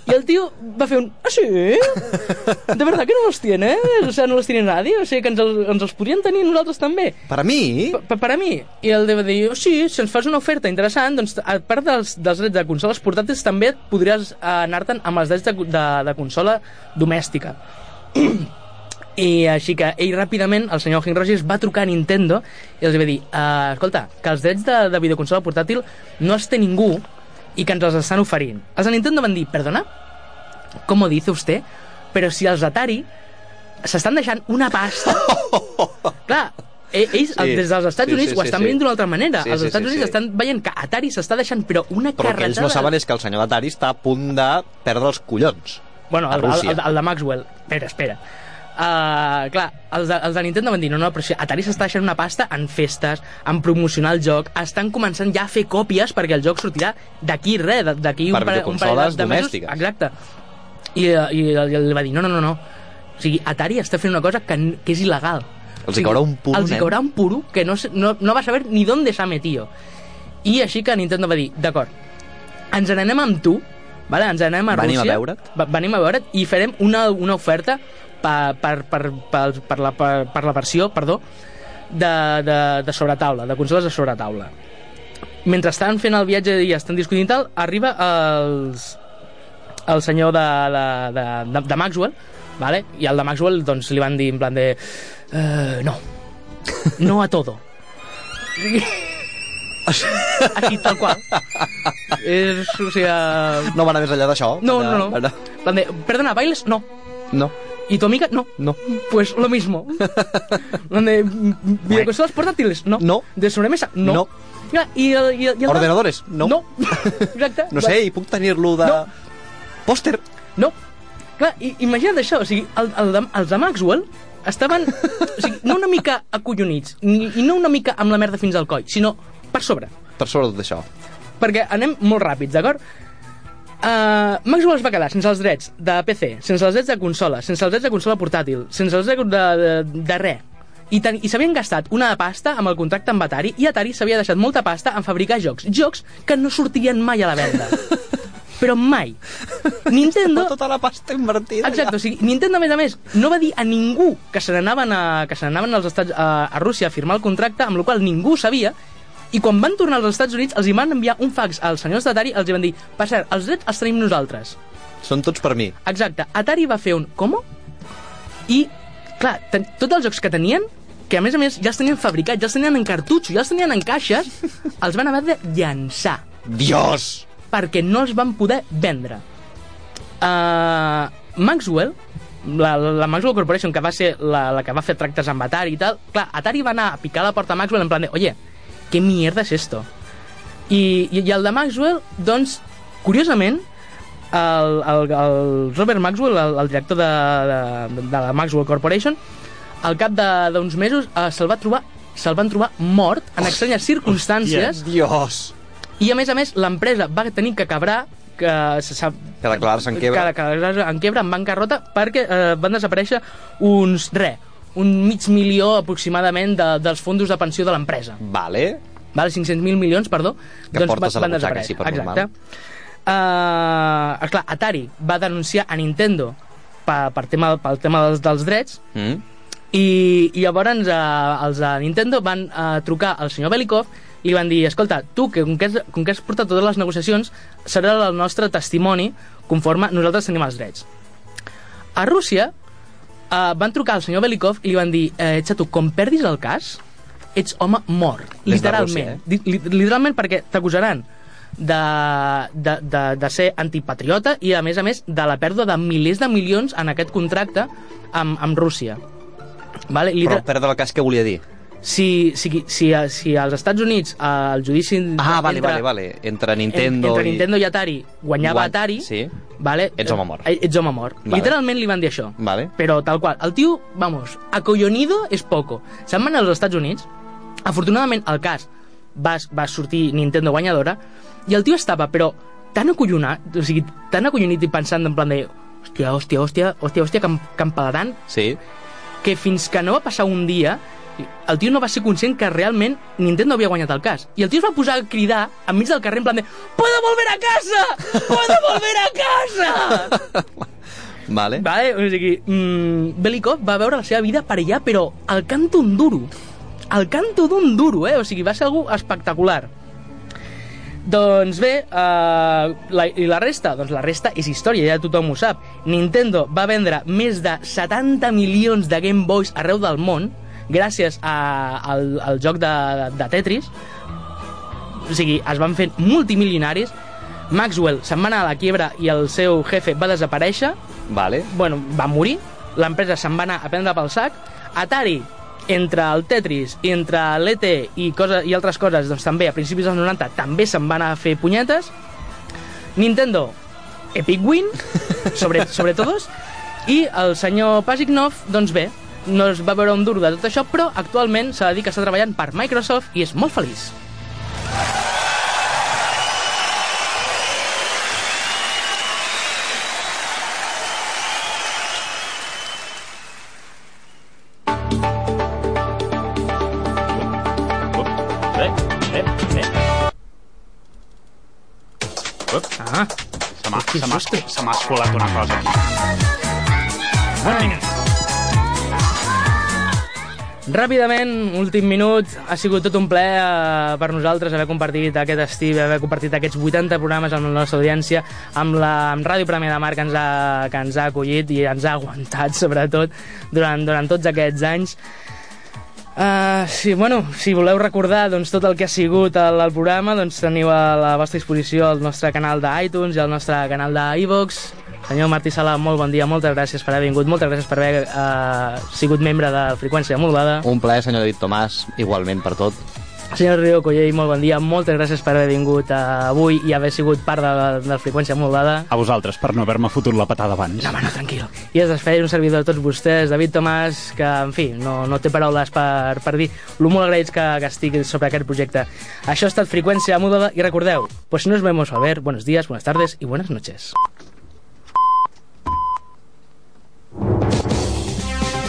Speaker 7: I el tio va fer un... Ah, sí? De verdad que no los tiene? O sea, no los tiene nadie? O sigui, que ens, els, ens els podríem tenir nosaltres també?
Speaker 8: Per a mi...
Speaker 7: Per, per a mi. I el va dir, sí, si ens fas una oferta interessant, doncs a part dels, dels drets de consoles portàtils també et podries eh, anar-te'n amb els drets de, de, de consola domèstica. [clears throat] I així que ell ràpidament, el senyor Henry Rogers, va trucar a Nintendo i els va dir, eh, escolta, que els drets de, de videoconsola portàtil no els té ningú i que ens els estan oferint. Els de Nintendo van dir, perdona, com ho dice usted? Però si els Atari s'estan deixant una
Speaker 8: [laughs]
Speaker 7: pasta... Clar, e- ells
Speaker 8: Sí.
Speaker 7: sí. des dels Estats
Speaker 8: Sí,
Speaker 7: Units
Speaker 8: sí,
Speaker 7: ho
Speaker 8: sí,
Speaker 7: estan
Speaker 8: sí.
Speaker 7: veient d'una altra manera.
Speaker 8: Sí,
Speaker 7: els
Speaker 8: sí,
Speaker 7: Estats
Speaker 8: sí,
Speaker 7: Units
Speaker 8: sí.
Speaker 7: estan veient que Atari s'està deixant però una
Speaker 8: Però el que
Speaker 7: carretada...
Speaker 8: ells no saben és que el senyor d'Atari està a punt de perdre els collons.
Speaker 7: Bueno,
Speaker 8: a
Speaker 7: el, el,
Speaker 8: Rússia.
Speaker 7: el, el de Maxwell. Espera, espera. Uh, clar, els de, els de Nintendo van dir no, no, però si Atari s'està deixant una pasta en festes, en promocionar el joc, estan començant ja a fer còpies perquè el joc sortirà d'aquí res, de- d'aquí
Speaker 8: Per
Speaker 7: un, pare- un parell de,
Speaker 8: videoconsoles
Speaker 7: de mesos.
Speaker 8: domèstiques.
Speaker 7: Exacte. I, eh, i, el- i li va dir no, no, no, no. O sigui, Atari està fent una cosa que, n- que és il·legal.
Speaker 8: Els hi caurà un puro,
Speaker 7: Els hi
Speaker 8: nen.
Speaker 7: caurà un puro que no, se- no, no va saber ni d'on s'ha metido. I així que Nintendo va dir, d'acord, ens n'anem amb tu, vale? ens n'anem a
Speaker 8: Venim a
Speaker 7: Rússia.
Speaker 8: veure't.
Speaker 7: ve- Venim a veure't i farem una, una oferta per, per, per, per, per, la, per, per la versió, perdó, de, de, de sobretaula, de consoles de sobretaula. mentre estan fent el viatge i estan discutint i tal, arriba els, el senyor de, de, de, de, de Maxwell, vale? i el de Maxwell doncs, li van dir en plan de... Uh, no, no a todo. Així, tal qual. És, o sea...
Speaker 8: No va anar més enllà d'això?
Speaker 7: No,
Speaker 8: Era-
Speaker 7: no, no.
Speaker 8: era-
Speaker 7: En plan de, perdona, ¿bailes? No.
Speaker 8: No.
Speaker 7: ¿Y tu amiga? No.
Speaker 8: No.
Speaker 7: Pues lo
Speaker 8: [laughs]
Speaker 7: mismo. Donde, mm, ¿Videoconsolas portátiles? No. No. ¿De sobremesa? No.
Speaker 8: No.
Speaker 7: Mira, ¿Y, el- y, el- y el-
Speaker 8: Ordenadores? No. [laughs]
Speaker 7: No. Exacte.
Speaker 8: No sé, i puc tenir-lo de...
Speaker 7: No.
Speaker 8: Pòster?
Speaker 7: No. Clar, i, imagina't això, o sigui, el, el de, els de Maxwell estaven, o sigui, no una mica acollonits, ni, i no una mica amb la merda fins al coll, sinó per sobre.
Speaker 8: Per sobre de tot això.
Speaker 7: Perquè anem molt ràpids, d'acord? Uh, Maxwell es va quedar sense els drets de PC, sense els drets de consola, sense els drets de consola portàtil, sense els drets de, de, de res. I, ten, i s'havien gastat una pasta amb el contracte amb Atari i Atari s'havia deixat molta pasta en fabricar jocs. Jocs que no sortien mai a la venda. Però mai. Nintendo...
Speaker 8: Tota la pasta invertida
Speaker 7: Exacte, o sigui, Nintendo, a més a més, no va dir a ningú que se n'anaven a, que se n'anaven als Estats, a, a Rússia a firmar el contracte, amb la qual cosa ningú ho sabia, i quan van tornar als Estats Units els hi van enviar un fax als senyors d'Atari, els hi van dir, per cert, els drets els tenim nosaltres.
Speaker 8: Són tots per mi.
Speaker 7: Exacte, Atari va fer un com? I, clar, ten, tots els jocs que tenien, que a més a més ja els tenien fabricats, ja els tenien en cartutxo, ja els tenien en caixes, els van haver de llançar
Speaker 8: Dios!
Speaker 7: perquè no els van poder vendre. Uh, Maxwell, la, la Maxwell Corporation, que va ser la, la que va fer tractes amb Atari i tal, clar, Atari va anar a picar a la porta a Maxwell en plan de, oye, ¿qué mierda es esto? I, i, i el de Maxwell, doncs, curiosament, el, el, el Robert Maxwell, el, el director de, de, de la Maxwell Corporation, al cap de- d'uns mesos eh, se'l va trobar se'l van trobar mort en estranyes circumstàncies
Speaker 8: Dios!
Speaker 7: i a més a més, l'empresa va tenir que quebrar que se sap
Speaker 8: Que declarar-se en
Speaker 7: que,
Speaker 8: quebra.
Speaker 7: que declarar-se en quebra, en bancarrota, perquè eh, van desaparèixer uns, re, un mig milió aproximadament de, dels fondos de pensió de l'empresa.
Speaker 8: Vale.
Speaker 7: Val, 500.000 milions, perdó. Doncs
Speaker 8: Que portes a la butxaca, sí, per
Speaker 7: Exacte.
Speaker 8: normal.
Speaker 7: Uh, clar, Atari va denunciar a Nintendo per, per tema, pel tema dels, dels drets
Speaker 8: Mm?
Speaker 7: i, i llavors eh, els de Nintendo van eh, trucar al senyor Belikov i li van dir, escolta, tu, que com que, has, com que has portat totes les negociacions, serà el nostre testimoni conforme nosaltres tenim els drets. A Rússia eh, van trucar al senyor Belikov i li van dir, eh, xato, com perdis el cas, ets home mort,
Speaker 8: de
Speaker 7: literalment.
Speaker 8: Rússia, eh?
Speaker 7: Di- li- Literalment perquè t'acusaran de, de, de, de ser antipatriota i, a més a més, de la pèrdua de milers de milions en aquest contracte amb, amb Rússia. Vale,
Speaker 8: Però
Speaker 7: literal,
Speaker 8: perdre el cas que volia dir.
Speaker 7: si, si, si, eh, si als Estats Units eh, el judici...
Speaker 8: Ah, vale,
Speaker 7: entre-
Speaker 8: vale, vale. Entre
Speaker 7: en-
Speaker 8: Nintendo
Speaker 7: entre
Speaker 8: i...
Speaker 7: Nintendo i Atari guanyava
Speaker 8: Guany-
Speaker 7: Atari,
Speaker 8: sí.
Speaker 7: vale,
Speaker 8: Ets home mort.
Speaker 7: Eh, ets home mort.
Speaker 8: Vale.
Speaker 7: Literalment li van dir això.
Speaker 8: Vale.
Speaker 7: Però tal qual. El tio, vamos, acollonido es poco. Se'n van als Estats Units, afortunadament el cas va, va sortir Nintendo guanyadora, i el tio estava, però, tan acollonat, o sigui, tan acollonit i pensant en plan de hòstia, hòstia, hòstia, hòstia, hòstia, que em, que em pagaran,
Speaker 8: Sí.
Speaker 7: que fins que no va passar un dia el tio no va ser conscient que realment Nintendo havia guanyat el cas. I el tio es va posar a cridar enmig del carrer en plan de «Puedo volver a casa! Puedo volver a casa!»
Speaker 8: Vale.
Speaker 7: Vale? O sigui, mmm, Belikov va veure la seva vida per allà, però al canto un duro. Al canto d'un duro, eh? O sigui, va ser algú espectacular. Doncs bé, eh, la, i la resta? Doncs la resta és història, ja tothom ho sap. Nintendo va vendre més de 70 milions de Game Boys arreu del món gràcies a, al, al joc de, de Tetris. O sigui, es van fent multimilionaris. Maxwell se'n va anar a la quiebra i el seu jefe va desaparèixer
Speaker 8: Vale.
Speaker 7: bueno, va morir, l'empresa se'n va anar a prendre pel sac, Atari, entre el Tetris, i entre l'ET i, cosa, i altres coses, doncs també a principis dels 90 també se'n van anar a fer punyetes, Nintendo, Epic Win, sobre, sobre todos, i el senyor Pasiknov, doncs bé, no es va veure un duro de tot això, però actualment s'ha de dir que està treballant per Microsoft i és molt feliç.
Speaker 9: Eh, eh, eh.
Speaker 7: Ah,
Speaker 9: Se m'ha- se m'ha- Se m'ha escolat una cosa aquí.
Speaker 7: Ràpidament, últim minut, ha sigut tot un plaer eh, per nosaltres haver compartit aquest estiu, haver compartit aquests 80 programes amb la nostra audiència, amb la amb Ràdio Premià de Mar que ens, ha, que ens ha acollit i ens ha aguantat, [laughs] sobretot, durant, durant tots aquests anys. Uh, sí, bueno, si voleu recordar doncs, tot el que ha sigut el, el programa, doncs teniu a la vostra disposició el nostre canal d'iTunes i el nostre canal d'iVox. Senyor Martí Sala, molt bon dia, moltes gràcies per haver vingut, moltes gràcies per haver uh, sigut membre de Freqüència Modulada.
Speaker 8: Un plaer, senyor David Tomàs, igualment per tot.
Speaker 7: Senyor Rio Collell, molt bon dia, moltes gràcies per haver vingut uh, avui i haver sigut part de, de la Freqüència Modulada.
Speaker 9: A vosaltres, per no haver-me fotut la patada abans.
Speaker 7: No, home, no, tranquil. I es desfeia un servidor de tots vostès, David Tomàs, que, en fi, no, no té paraules per, per dir lo molt agraïts que, que estic sobre aquest projecte. Això ha estat Freqüència Modulada i recordeu, pues si nos vemos a ver, buenos días, buenas tardes i buenas noches.